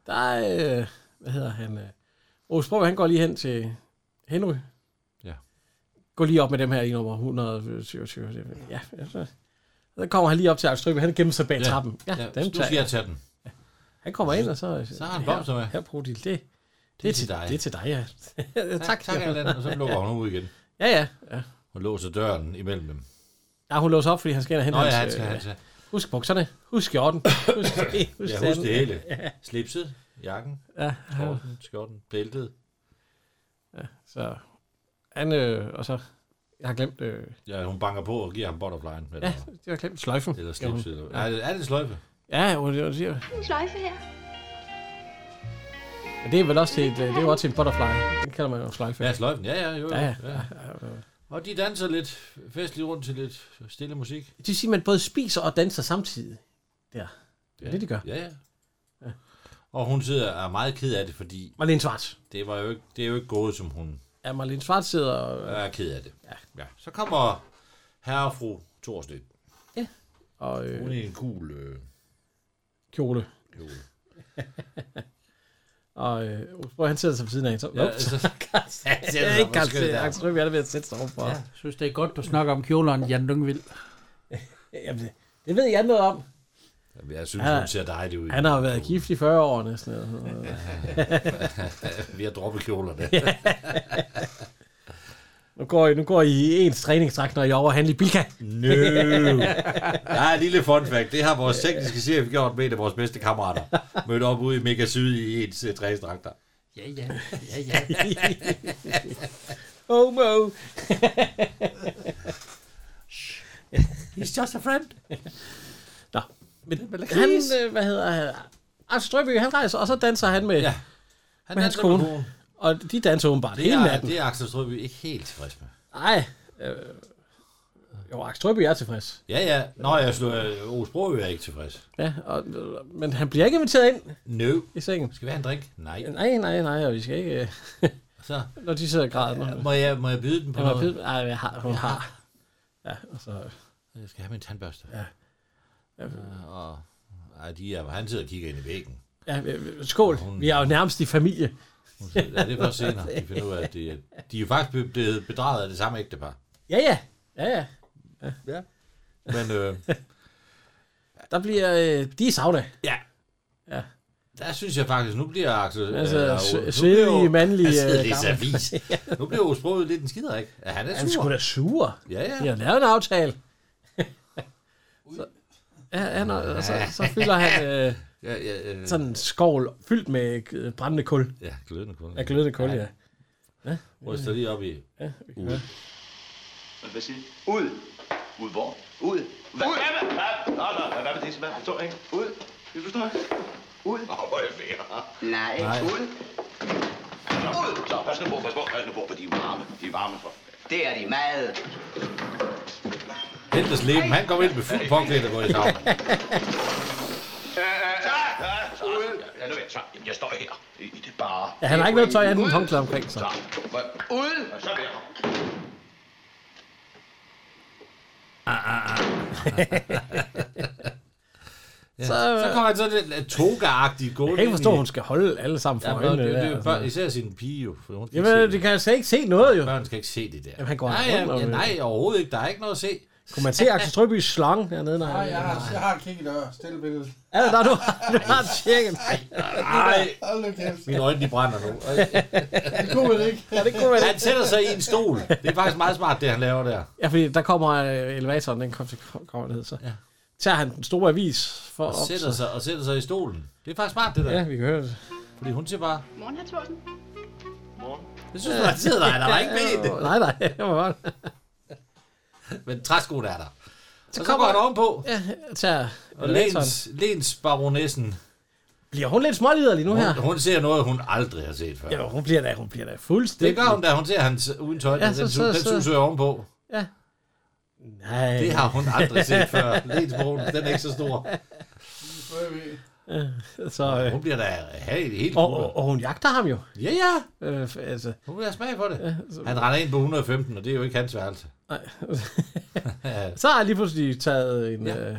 A: Der er, øh, hvad hedder han? Øh, Aarhus Brug, han går lige hen til Henry.
B: Ja.
A: Gå lige op med dem her i nummer 127. Det- Ja, ja, så. Så kommer han lige op til Axel Strøbe. Han gemmer sig bag
B: Ja.
A: trappen.
B: Ja, så nu skal jeg tage den.
A: Ja. Han kommer ind, og så...
B: Så har han bomser med.
A: Her, Brodil, det, det, det, er til dig. Det er til dig, ja. tak,
B: tak Allan. Og så lukker hun ud igen.
A: Ja, ja. ja.
B: Hun låser døren imellem dem.
A: Ja, hun låser op, fordi han skal ind og hente
B: Nå ja,
A: hans,
B: han skal,
A: øh,
B: han skal.
A: Husk bukserne. Husk skjorten. Husk det. Husk
B: Ja, husk
A: den.
B: det hele.
A: Ja.
B: Slipset, jakken,
A: Ja.
B: skjorten, skjorten, bæltet.
A: Ja, så han, øh, og så, jeg har glemt, øh,
B: Ja, hun banker på og giver ham butterflyen. Eller,
A: ja, det var glemt sløjfen.
B: eller
A: Ja, hun-
B: slipset. Eller, er, det- er det sløjfe?
A: Ja, jo, det, var, det, var,
P: En sløjfe her.
A: men det er vel også til, et, øh, det er jo også til en butterfly. Den kalder man jo sløjfe.
B: Ja, sløjfen. Ja, ja, jo. jo.
A: Ja, ja. øh.
B: Og de danser lidt festligt rundt til lidt stille musik.
A: Det vil sige, at man både spiser og danser samtidig. Der. Det er det, de gør.
B: Ja, ja. Og hun sidder og er meget ked af det, fordi...
A: Marlene Schwartz.
B: Det, var jo ikke, det er jo ikke gået, som hun
A: Ja, Marlene Schwartz sidder og,
B: er ked af det. Ja. ja. Så kommer herre og fru Thorsnø.
A: Ja. Og, øh,
B: Hun er i en gul øh,
A: kjole.
B: kjole.
A: Og øh, hvor han sidder sig ved siden af. hende, Så,
C: Ja,
A: ja,
C: altså-
A: så,
C: Ja, det
A: det
C: er
A: er
C: så
A: ikke
C: forskelligt
A: garanteret.
C: der.
A: Jeg tror, vi er ved at sætte sig overfor.
C: Jeg synes, det er godt, du snakker om kjoleren Jan Lyngvild.
A: Jamen, det- det ved jeg noget om.
B: Jamen, Jeg synes,
A: Han er-
B: hun ser dejlig ud.
A: Han har jo været gift i 40 år næsten. Eller sådan noget.
B: Vi har droppet kjolerne.
A: Ja. nu, går I, nu går I i ens træningsdragt, når I er over at handle i Bilka.
B: Nø. Der er en lille fun fact. Det har vores tekniske chef gjort med en af vores bedste kammerater. Mødte op ude i Mega Syd i ens øh, træningsdragter.
C: Ja, ja, ja, ja.
A: Oh, Homo.
C: He's just a friend.
A: Nå, men han, øh, hvad hedder han? Arne Strøby, han rejser, og så danser han med, ja.
B: han
A: med hans
B: danser med
A: kone.
B: konen.
A: Og de danser åbenbart
B: Det
A: hele
B: er,
A: natten.
B: det er Axel Strøby ikke helt tilfreds med.
A: Nej. Øh, jo, Axel Strøby er tilfreds.
B: Ja, ja. Nå, jeg slår, øh, Ole Sprogø er ikke tilfreds.
A: Ja, og, øh, men han bliver ikke inviteret ind
B: No.
A: i sengen.
B: Skal vi have en drink? Nej.
A: Nej, nej, nej, og vi skal ikke... øh,
B: Så.
A: Når de sidder og græder. Ja,
B: Må jeg, må jeg byde den på
A: jeg må
B: noget?
A: byde, ej, jeg har, hun har. Ja, og så...
B: Jeg skal have min tandbørste.
A: Ja.
B: Øh, Og, ej, de er, han sidder og kigger ind i væggen.
A: Ja, øh, skål. Vi er jo nærmest i familie.
B: Ja, det er først senere, de finder ud af, at de, de er jo faktisk blevet bedraget af det samme ægtepar.
A: Ja, ja. Ja, ja.
B: Ja. Men øh,
A: Der bliver... Øh, de er i sauna.
B: Ja.
A: Ja.
B: der synes jeg faktisk, nu bliver Axel...
A: Altså,
B: øh,
A: s-
B: nu bliver Altså,
A: svedige,
B: jo-
A: mandlige,
B: Han sidder
A: øh,
B: lidt
A: gamle.
B: servis. Nu bliver jo sproget lidt en skider, ikke? Ja, han er
A: Han
B: sur.
A: skulle da sure.
B: Ja, ja.
A: De har lavet en aftale. så, ja, han, og, og så, så fylder han øh,
B: Ja, ja, ja.
A: sådan en skovl fyldt med øh, brændende kul.
B: Ja, glødende kul.
A: Ja, glødende kul, ja. ja.
B: Ryster lige op i...
A: Ja, vi kan
B: Ude.
A: høre.
D: Hvad siger I? Ud. Ud hvor? Ud. Hvad? Ud. Hvad? Hvad? Nå, nå, hvad- hvad vil det sige? Hvad forstår jeg ikke? Ud. Det forstår jeg ikke. Ud. Åh, hvor er det værre.
H: Nej.
D: Nej. Ud. Ud. Så, pas nu på, pas på, pas nu på, for de er varme. De er varme for.
H: Det er de meget.
B: Hent og slæbe. Han kommer ind med fuld påklædt og går i sauna.
D: Ja, nu er jeg så. Jeg står her. I i det bare.
A: Ja, han har ikke noget tøj andet end håndklæder omkring sig.
D: Ud. Og så der.
A: Ah, ah, ah.
B: Ja. Så, så kommer han sådan lidt toga-agtigt gående.
A: Jeg kan ikke forstå, at
B: ind i-
A: hun skal holde alle sammen for
B: Ja, men
A: øjnene.
B: det, det,
A: der Altså.
B: det,
A: og
B: det,
A: sådan noget.
B: børn, især sin pige jo. For hun skal ikke se
A: Jamen, det kan jeg slet ikke se noget, jo.
B: Børn skal ikke se det der.
A: Jamen, han går
B: nej,
A: rundt
B: ja,
A: om- øh.
B: ja, nej, overhovedet ikke. Der er ikke noget at se.
A: Kunne man se Axel Strøbys slange dernede? Nej,
C: Nej, jeg har, jeg har kigget og stille billedet.
A: Er det der, du, du har tjekket?
C: Nej. Hold nu kæft.
B: Mine øjne, de brænder nu.
C: Det kunne man ikke.
A: Ja, det kunne man
B: Han sætter sig i en stol. Det er faktisk meget smart, det han laver der.
A: Ja, fordi der kommer øh, elevatoren, den kommer, kommer ned, så ja. tager han den store avis for
B: Og
A: op,
B: sætter
A: så-
B: sig, og sætter sig i stolen. Det er faktisk smart, det der.
A: Ja, vi kan høre det.
B: Fordi hun siger bare,
J: Morgen, herr Thorsen. Morgen.
B: det synes du, han sidder der, der var ikke ben.
A: Nej, nej, det var godt.
B: Men træskoen er der.
A: Så
B: Og så
A: kommer-
B: går han ovenpå.
A: Ja, tager
B: Og
A: elevatoren.
B: Lens, Lens baronessen,
A: Bliver hun lidt småliderlig nu her?
B: hun, hun ser noget, hun aldrig har set før.
A: Ja, hun bliver da, hun bliver da
B: Det
A: fuldstændig.
B: gør hun da, hun ser hans uden tøj,
A: Ja,
B: ja,
A: så-
B: den,
A: så-
B: så, den
A: så-
B: suser jeg ovenpå.
A: Ja. Nej.
B: Det har hun aldrig set før. Lensbroen, den er ikke så stor.
A: Så, øh,
B: Hun bliver da hey, helt
A: og, og, og, hun jagter ham jo.
B: Ja, ja.
A: Øh, f- altså,
B: Hun vil have smag for det.
A: Ja, så-
B: Han render ind på 115, og det er jo ikke hans værelse.
A: nej.
B: Ja.
A: så har jeg lige pludselig taget en...
B: Ja.
A: Øh,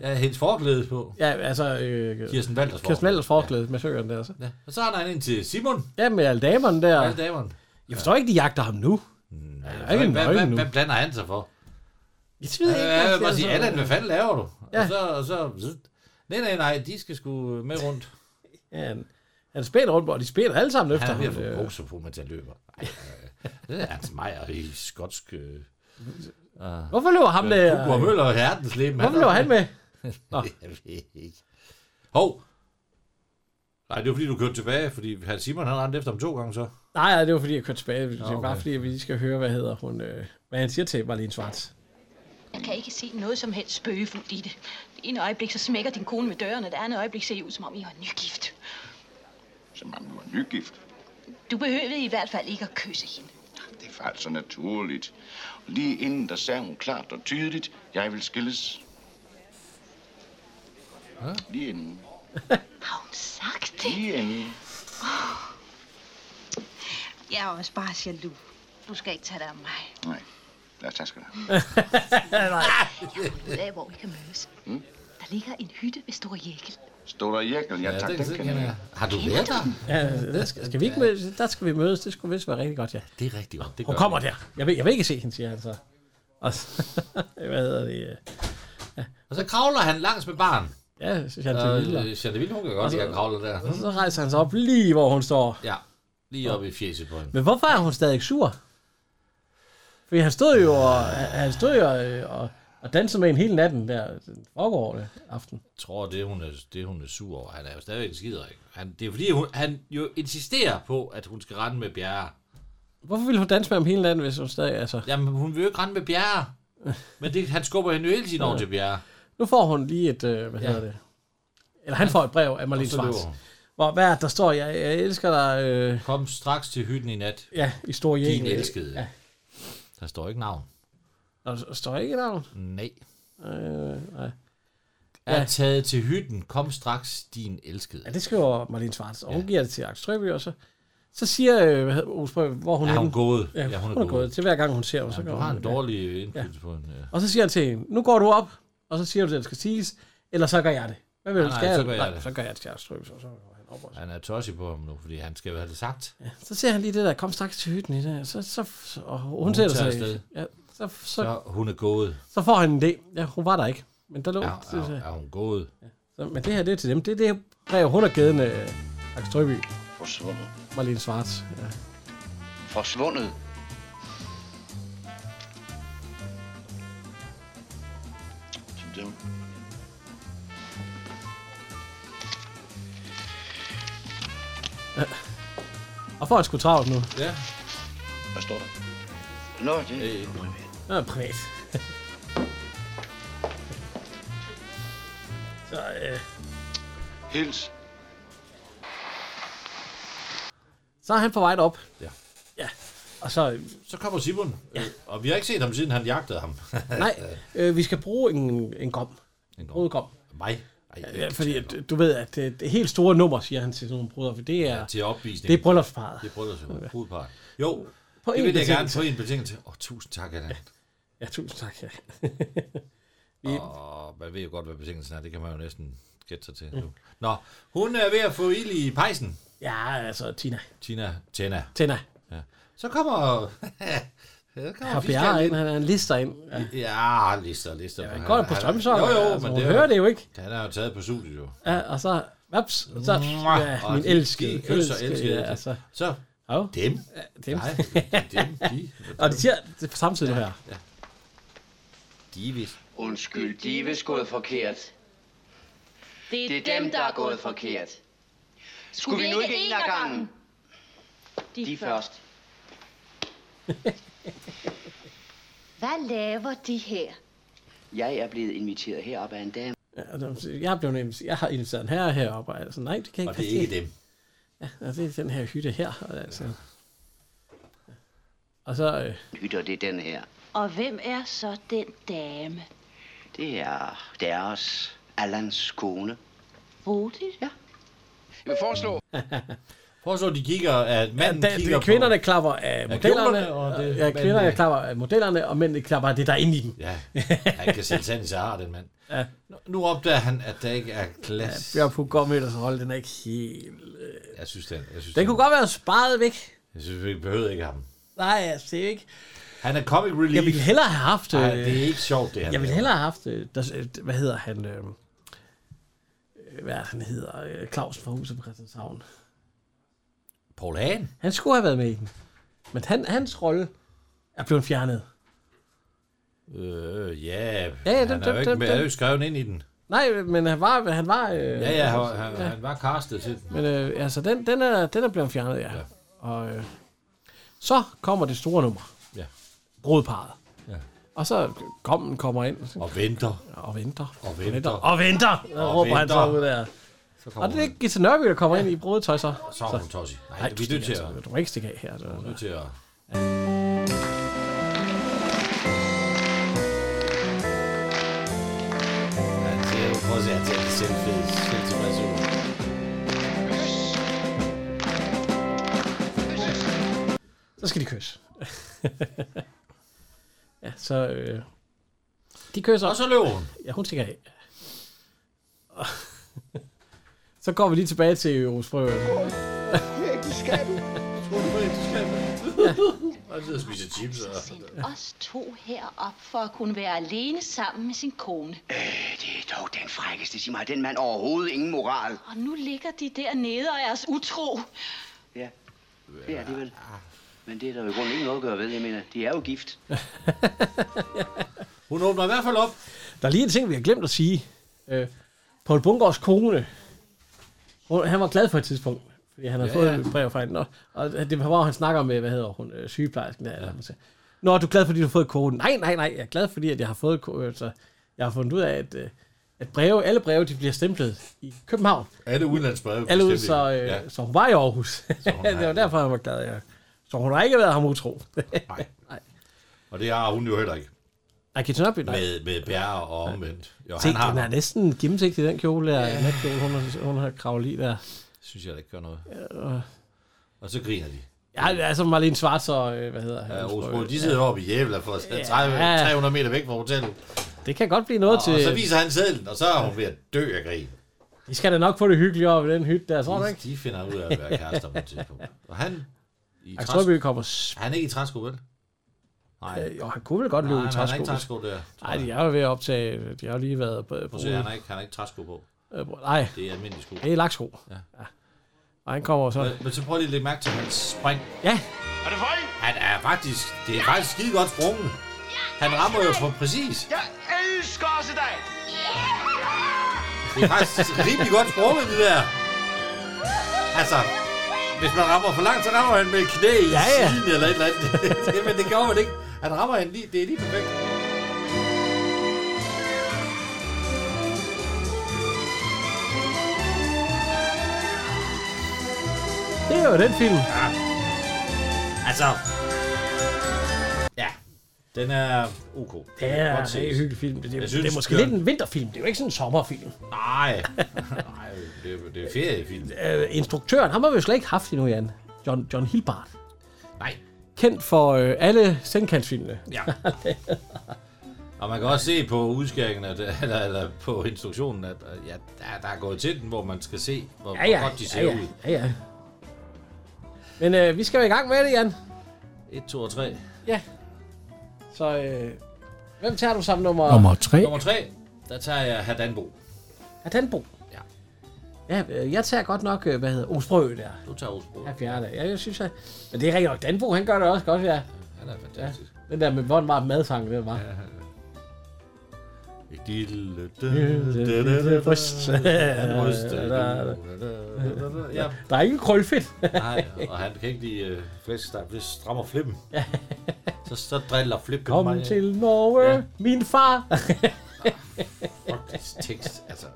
B: Ja, hendes forklæde på.
A: ja, altså... Øh,
B: Kirsten Walthers
A: Kirsten Valders forklæde med søgeren der. Så. Ja.
B: Og så render han ind til Simon.
A: ja, med alle damerne der.
B: Alle damerne.
A: Jeg forstår ikke, de jagter ham nu.
B: Nej,
A: er ikke en
B: hvad,
A: nøgle
B: hvad,
A: nu.
B: hvad, blander han sig for?
A: Jeg
B: Ja,
A: ved ikke,
B: jeg vil
A: hvad
B: bare
A: jeg
B: sige,
A: siger.
B: Allan, hvad fanden laver du?
A: Ja.
B: Og så, og så, nej, nej, nej, de skal sgu med rundt.
A: Ja, han, han spænder rundt, og de spænder alle sammen efter
B: Han er
A: ham.
B: ved at
A: Øh,
B: få bukser på, mens han løber. Ej, øh, det er Ernst Meyer i skotsk... Øh, uh,
A: Hvorfor løber ham der- øh,
B: Kugler Møller og Hertens Leben.
A: Hvorfor løber han med?
B: Nå. jeg ved ikke. Hov! Nej, det var fordi, du kørte tilbage, fordi han Simon han rendte efter ham to gange så.
A: Nej, nej, det var fordi, jeg kørte tilbage. Det er
B: Nå,
A: bare
B: okay.
A: fordi, at vi lige skal høre, hvad hedder hun... Øh, hvad han siger til Marlene Schwartz.
J: Jeg kan ikke se noget som helst spøgefuldt i det. Det ene øjeblik, så smækker din kone med døren, og det andet øjeblik ser I ud, som om I var nygift.
D: Som om du var nygift.
J: Du behøvede i hvert fald ikke at kysse hende.
D: Det var altså naturligt. Og lige inden, der sagde hun klart og tydeligt, jeg vil skilles. Lige inden.
J: Har hun sagt det?
D: Lige inden.
J: Jeg er også bare jaloux. Du skal ikke tage dig af mig.
D: Nej. Lad os tage skal du
J: Nej. Jeg har fundet ud af, hvor vi kan mødes.
H: Mm.
D: Hmm?
J: Der ligger en hytte ved Store Jækel.
D: Stod der jækkel? Ja, tak, den kender jeg.
B: Har du
J: Kender
B: været
J: du
B: der?
J: den?
A: Ja, det skal, skal vi ikke mødes? Der skal vi mødes. Det skulle vist være rigtig godt, ja.
B: Det er rigtig godt. Det
A: Hun
B: gør
A: kommer
B: jeg.
A: der. Jeg vil, jeg vil ikke se hende, siger han så. Og, så- hvad hedder det? øh,
B: Og så kravler han langs med barn.
A: Ja, Chantal Wilder.
B: Chantal Wilder, øh, hun kan godt lide at kravle der.
A: Og så rejser han sig op lige, hvor hun står.
B: Ja, lige oppe i fjeset på hende.
A: Men hvorfor er hun stadig sur? Fordi han stod jo og, han stod jo øh, og, og, og dansede med en hele natten der den foregående aften.
B: Jeg tror, det hun er, det hun er sur over. Han er jo stadigvæk en skider, ikke? Han, det er fordi, hun, han jo insisterer på, at hun skal rende med bjerre.
A: Hvorfor ville hun danse med ham hele natten, hvis hun stadig... Altså,
B: Jamen, hun vil jo ikke rende med bjerre. Men det, han skubber hende jo hele tiden over til bjerre.
A: nu får hun lige et... øh, Hvad
B: Ja.
A: hedder det? Eller han får et brev af Marlene
B: Og så løber
A: Svarts.
B: hun.
A: Hvor, hvad er det, der står? Jeg, jeg elsker dig... Øh,
B: Kom straks til hytten i nat.
A: ja, i stor jæg.
B: Din elskede.
A: Ja.
B: Der står ikke navn.
A: Og der står ikke navn?
B: Nej.
A: Øh, nej.
B: Er
A: Ja.
B: taget til hytten. Kom straks, din elskede.
A: Ja, det skriver Marlene Schwartz, og hun giver det til Axel Strøby, og så, så siger øh, hvad hedder, Ove Sprøg, hvor hun
B: Er hun
A: henne?
B: gået?
A: Ja, hun, er, gået. Til hver gang hun ser ham, så
B: Jamen,
A: går
B: du har
A: hun
B: en
A: der.
B: dårlig indflydelse på øh, hende. Ja.
A: Og så siger han til hende, nu går du op, og så siger du det, der skal siges, eller så gør jeg det. Hvad vil du,
B: Nej,
A: skal
B: nej,
A: jeg?
B: så gør jeg
A: Nej,
B: det.
A: Så gør jeg det til Axel Strøby, så, så går han op. Og så.
B: Han er tosset på ham nu, fordi han skal jo have det sagt. Ja.
A: så ser han lige det der, kom straks til hytten i dag, så, så, så og hun,
B: Hun
A: sætter
B: tager
A: sig.
B: afsted.
A: Ja, så, så, så,
B: Så hun er gået.
A: så, får han en idé. Ja, hun var der ikke, men der lå...
B: Er,
A: det,
B: er, er hun gået?
A: så, men det her, det er til dem. Det er det her brev, hun har givet øh, Axel Strøby,
D: Forsvundet.
A: Marlene Schwartz. Ja.
D: Forsvundet. Til dem.
A: Og får han sgu travlt nu.
B: Ja.
D: Hvad står der? Nå, det er
A: Nå, privat. så, øh,
D: Hils.
A: så er han på vej op.
B: Ja.
A: Ja. Og så, øh,
B: Så kommer Simon, ja. og vi har ikke set ham, siden han jagtede ham.
A: nej,
B: Altså-
A: øh, vi skal bruge en, en gom.
B: En
A: gom. gom.
B: Mig? Ej,
A: Ja, fordi at, du ved, at det, det helt store nummer, siger han til sådan nogle brødre, for det er,
B: Ja, til opvisning.
A: det er bryllupsparet.
B: Det er bryllupsparet. Brudepar. Jo,
A: På
B: på det
A: én
B: vil jeg gerne
A: betingelse.
B: på en betingelse. Åh, oh, tusind tak, Allan.
A: Ja, tusind tak. Ja.
B: Ja. Og man ved jo godt, hvad betingelsen er. Det kan man jo næsten gætte sig til. Nu. Nå, hun er ved at få ild i pejsen.
A: ja, altså Tina.
B: Tina. Tina.
A: Tina.
B: Ja. Så kommer...
A: Har Bjerre ind, han er en lister ind. Ja.
B: Ja, lister, lister. Ja,
A: han går da på strømsøjler,
B: Jo, jo,
A: altså,
B: men
A: hun hører det jo ikke.
B: Han er jo taget på studiet jo.
A: Ja, og så... Vaps, så... Ja,
B: Og
A: min
B: Ah, de-
A: elskede.
B: de kysser, elskede,
A: Ja,
B: elskede.
A: altså.
B: Så,
A: Ja.
B: dem.
A: Ja, dem.
B: Nej,
A: dem, de. og de siger det på samme tid nu her. Ja.
B: Divis.
H: Undskyld, de er vist gået forkert.
O: Det er,
H: Det er dem, der er gået forkert. Skulle vi nu ikke en af gangen? De først.
O: Hvad laver de her?
H: Jeg er blevet inviteret herop af en dame.
A: og de siger, Jeg, blev nemt, jeg har inviteret den her heroppe, og altså, nej, det kan ikke
H: Og det er
A: passe.
H: ikke dem.
A: Ja, og det er den her hytte her. Og, altså. og så... Øh,
H: Hytter, det er den her.
O: Og hvem er så den dame?
H: Det er deres Allans kone.
O: Bodil? Ja.
H: Jeg vil foreslå.
B: Foreslå, de kigger, at manden
A: da,
B: ja, kigger
A: det, kvinderne
B: på...
A: klapper af modellerne,
B: kjolerne, og det-
A: ja,
B: men,
A: kvinderne
B: øh,
A: klapper af modellerne, og mændene klapper af det, der er inde i dem.
B: Ja, han kan sætte sand i Sahara, den mand.
A: Ja.
B: Nu opdager han, at der ikke er
A: Ja,
B: glas.
A: Bjørn Pugårdmøllers rolle, den er ikke helt... Øh,
B: Jeg synes, den, jeg synes,
A: den kunne godt være sparet væk.
B: Jeg synes, vi behøvede ikke ham.
A: Nej, altså, det er ikke...
B: Han er comic relief.
A: Jeg ville hellere have haft...
B: Ej,
A: øh,
B: det er ikke sjovt, det her.
A: Jeg ville hellere have haft... øh, Der, øh, hvad hedder han? Øh, hvad er det, han hedder? Øh, Clausen fra Huset på Christianshavn.
B: Paul Hagen.
A: Han skulle have været med i den. Men han, hans rolle er blevet fjernet.
B: Øh, ja, ja
A: ja,
B: han
A: den-
B: er jo
A: den-
B: ikke
A: den-
B: med,
A: den-
B: er jo skrevet ind i den.
A: Nej, men han var... Han var øh,
B: Ja, ja, han, han,
A: ja.
B: han var castet til den.
A: Men øh, altså, den, den, er, den er blevet fjernet, ja. ja. Og øh, så kommer det store nummer.
B: Ja.
A: Brudparet.
B: Ja.
A: Og så kommen kommer ind.
B: Og venter.
A: Og venter.
B: Og venter.
A: Og venter! Og
B: Og
A: råber venter. han så
B: venter.
A: ud der.
B: Så kommer
A: Og det er
B: hun.
A: ikke Gita Nørby, der kommer ja. ind i brudetøj så.
B: Så er hun tosset. Nej,
A: Nej,
B: vi er
A: du,
B: nødt til
A: stikker,
B: at-
A: altså. du må ikke stikke af her. Du
B: er nødt til at... Han ser jo, prøv at se, han ser selv fed, selv tilfreds ud.
A: Så skal de kysse. ja, så... Øh, de kysser.
B: Og så løber hun.
A: Ja, hun stikker af. Og- så går vi lige tilbage til Rosfrø.
P: Ægteskabet.
B: Han sidder og spiser chips. Og...
O: Os to herop for at kunne være alene sammen med sin kone.
H: Det er dog den frækkeste, sig mig. Den mand overhovedet ingen moral.
O: Og nu ligger de dernede og er os utro.
H: Ja, det er de vel. Men det er der jo i grunden ikke noget at gøre ved, jeg mener. De er jo gift.
B: Hun åbner i hvert fald op.
A: Der er lige en ting, vi har glemt at sige. Øh, Paul Bungårds kone, hun, han var glad for et tidspunkt, fordi han havde
B: Ja,
A: ja, fået
B: ja.
A: ja. et brev fra hende. Og, og det var, hvor han snakker med, hvad hedder hun, øh, sygeplejersken. Der, ja. eller, hun siger, Nå, er du glad, fordi du har fået koden? Nej, nej, nej, jeg er glad, fordi at jeg har fået koden. Så jeg har fundet ud af, at, øh, at breve, alle breve, de bliver stemplet i København.
B: Alle udenlandsbreve.
A: Alle ud,
B: bestemt
A: så, øh,
B: ikke.
A: ja. så hun var i Aarhus. det var derfor, han var glad, ja. Så hun har ikke været ham utro. nej. nej.
B: Og det har hun jo heller ikke.
A: Nej, Kitchen Up, nej.
B: Med, med bjerre og omvendt. Jo,
A: Se,
B: han har,
A: den er næsten gennemsigtig, den kjole der. Ja. Natkjole, hun, har- hun har kravlet i der.
B: synes jeg, det ikke gør noget.
A: Og,
B: øh. Og så griner de.
A: ja, altså Marlene Schwarz og, øh, hvad hedder han?
B: Ja,
A: Rose
B: Osbro,
A: Brøgge.
B: de sidder
A: Ja.
B: ja. oppe i Jævla for
A: Ja.
B: 30, 300 meter væk fra hotellet.
A: Det kan godt blive noget
B: Og,
A: til...
B: og så viser han sædlen, og så er hun ved at dø af grin.
A: De skal da nok få det hyggeligt over ved den hytte der, tror du
B: De,
A: ikke?
B: de finder ud af at være kærester på et tidspunkt. Og han... I
A: Axel Strøby kommer... s-
B: Han er ikke i træsko, vel? Nej.
A: Øh, jo, han kunne vel godt løbe i
B: Nej, men han er ikke i
A: træsko.
B: træsko der.
A: Nej, de er jo ved at optage... De har jo lige været på...
B: Prøv at se, han har ikke, han har ikke træsko på.
A: Øh, bro- nej.
B: Det er almindelige sko.
A: Det er laksko.
B: Ja.
A: Og han kommer så...
B: Men, men så prøv lige at lægge mærke til hans spring.
A: Ja.
B: Er det høj? Han er faktisk... Det er faktisk skide godt sprunget. Han rammer jo for præcis.
I: Jeg elsker også dig.
B: Det er faktisk rimelig godt sprunget, det der. Altså, hvis man rammer for langt, så rammer han med et knæ i
A: Ja, ja.
B: siden eller et eller andet. Det- men det gjorde man ikke. Han rammer han lige. Det er lige perfekt.
A: Det er jo den film.
B: Ja. Altså. Ja. Den er ok.
A: Det
B: Den kan
A: er
B: godt ses.
A: en rigtig hyggelig film. Det,
B: Jeg
A: er,
B: synes,
A: det er måske
B: den-
A: lidt en vinterfilm. Det er jo ikke sådan en sommerfilm.
B: Nej. Nej, det er, det er feriefilm.
A: øh, instruktøren, ham har vi jo slet ikke haft endnu, Jan. John, John Hilbart.
B: Nej.
A: Kendt for øh, alle sengkantsfilmene.
B: Ja. Og man kan også se på udskæringen, at, eller, eller på instruktionen, at øh, ja, der, der er gået til den, hvor man skal se, hvor,
A: Ja, ja,
B: hvor godt de ser
A: ja, ja,
B: ud.
A: ja, ja. Men øh, vi skal jo i gang med det, Jan.
B: 1, 2 og 3.
A: Ja. Så øh, hvem tager du som nummer?
Q: Nummer tre.
B: Nummer 3, der tager jeg Hadanbo.
A: Hadanbo. Ja. Ja, øh, jeg tager godt nok, øh, hvad hedder Osbrø der.
B: Du tager Osbro.
A: Ja, fjerde. Ja, jeg synes, jeg... Men det er rigtig nok. Danbo, han gør det også godt, ja.
B: Han er fantastisk.
A: Den der med, hvor meget madfang det var. Ja. Bryst.
B: Ja.
A: Der er ikke krølfedt.
B: Nej, og han kan ikke lide øh, flæsk, der hvis strammer flippen. Så, så driller flip på
A: Kom
B: mig.
A: til Norge, ja. min far.
B: Fuck, det tekst, altså.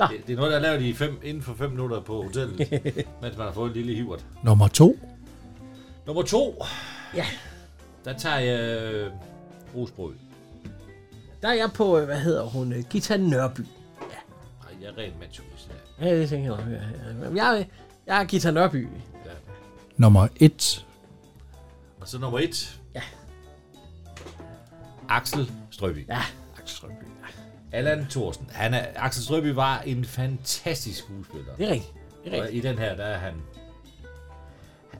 B: Det, det, er noget, der er lavet i fem, inden for 5 minutter på hotellet, mens man har fået en lille hivert.
Q: Nummer to.
B: Nummer to.
A: Ja.
B: Der tager jeg øh, Rosbrød.
A: Der er jeg på, øh, hvad hedder hun, øh, Gita Nørby.
B: Nej, jeg er rent macho. hvis jeg er.
A: Ja, det tænker jeg nok. ja, ja. Men Jeg, er- jeg er Gita Nørby.
Q: Nummer et.
B: Og så nummer et.
A: Ja.
B: Axel Strøby.
A: Ja.
B: Axel Strøby. Allan Thorsen. Han er, Axel Strøby var en fantastisk skuespiller.
A: Det er rigtigt. Det er rigtigt.
B: Og i den her, der er han...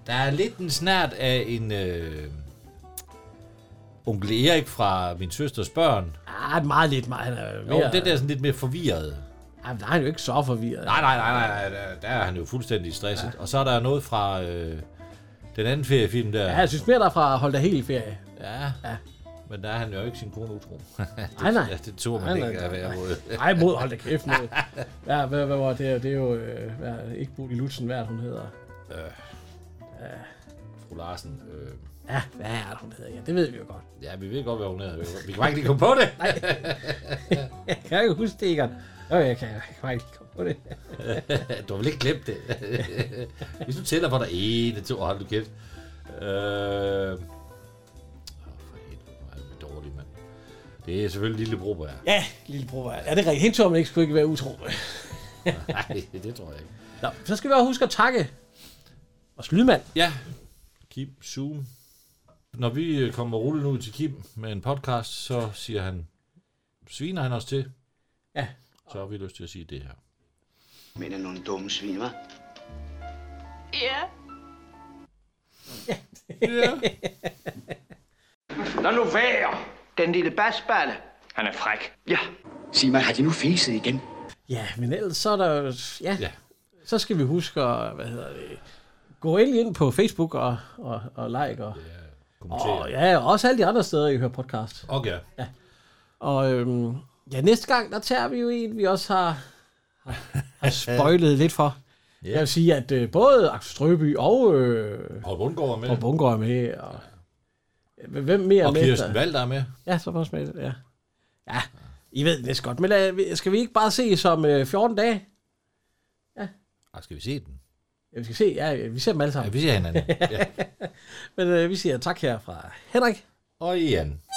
B: Der er lidt en snært af en... Øh, onkel Erik fra Min Søsters Børn.
A: Ah, meget lidt meget. Han er
B: Jo, det der er sådan lidt mere forvirret.
A: Jamen, der er han jo ikke så forvirret.
B: Nej, nej, nej, nej, nej, der- der er han jo fuldstændig stresset. Ja. Og så er der noget fra øh, den anden feriefilm der.
A: Ja, jeg synes mere, der er fra Hold da helt ferie.
B: Ja. ja. Men der er han jo ikke sin kone utro.
A: Nej, nej.
B: Det, det tog man
A: Nej, nej,
B: ikke at
A: nej,
B: være
A: nej.
B: mod.
A: Nej, mod, hold da kæft. Mod. Ja, hvad, hvad var det? Det er jo øh, hvad, ikke Bodil Lutzen, hvad er det, hun hedder.
B: Øh,
A: Ja.
B: fru Larsen. Øh,
A: ja, hvad er det, hun hedder? Ja, det ved vi jo godt.
B: ja, vi ved godt, hvad hun hedder. Vi- Vi kan bare ikke lige komme på det.
A: Nej. jeg kan ikke huske det, Egon. Nå, jeg kan, jeg kan bare ikke komme på det.
B: du har vel ikke glemt det. Hvis du tæller for dig en, to, hold du kæft. Øh, åh, for helvede, hvor er det dårligt, mand. Det er selvfølgelig Lille Broberg.
A: ja, lille bror. Ja, det er rigtigt. Hende tror man ikke skulle ikke være utro.
B: Nej, det tror jeg ikke.
A: Nå, så skal vi også huske at takke vores lydmand.
B: Ja, Kim Zoom. Når vi øh, kommer rullende ud til Kim med en podcast, så siger han, sviner han os til.
A: Ja.
B: Så har vi lyst til at sige det her.
H: Men er nogle dumme svin, hva'?
J: Ja.
R: Lad nu være! Den lille basballe.
I: Han er fræk.
R: Ja. Sig mig, har de nu fæset igen?
A: Ja, men ellers så er der jo... Ja, ja. Så skal vi huske at... Hvad hedder det? Gå endelig ind på Facebook og, og, og like og... Ja, og ja, og også alle de andre steder, I hører podcast.
B: Okay.
A: Ja. Og øhm, ja, næste gang, der tager vi jo en, vi også har, har spøjlet lidt for.
B: Ja.
A: Yeah. Jeg vil sige, at øh, både Axel Strøby og... Øh,
B: Paul Bundgaard er med.
A: Og Bundgaard er med. Og, ja. Hvem mere er
B: Og
A: med?
B: Kirsten Walter er med.
A: Ja, så var også med, ja. Ja, I ved det næsten godt. Men lad, skal vi ikke bare se som øh, 14 dage?
B: Ah, skal vi se den?
A: Ja, vi skal se. Ja, vi ser dem alle sammen.
B: Ja, vi ser hinanden. Ja.
A: Men øh, vi siger tak her fra Henrik.
B: Og Ian.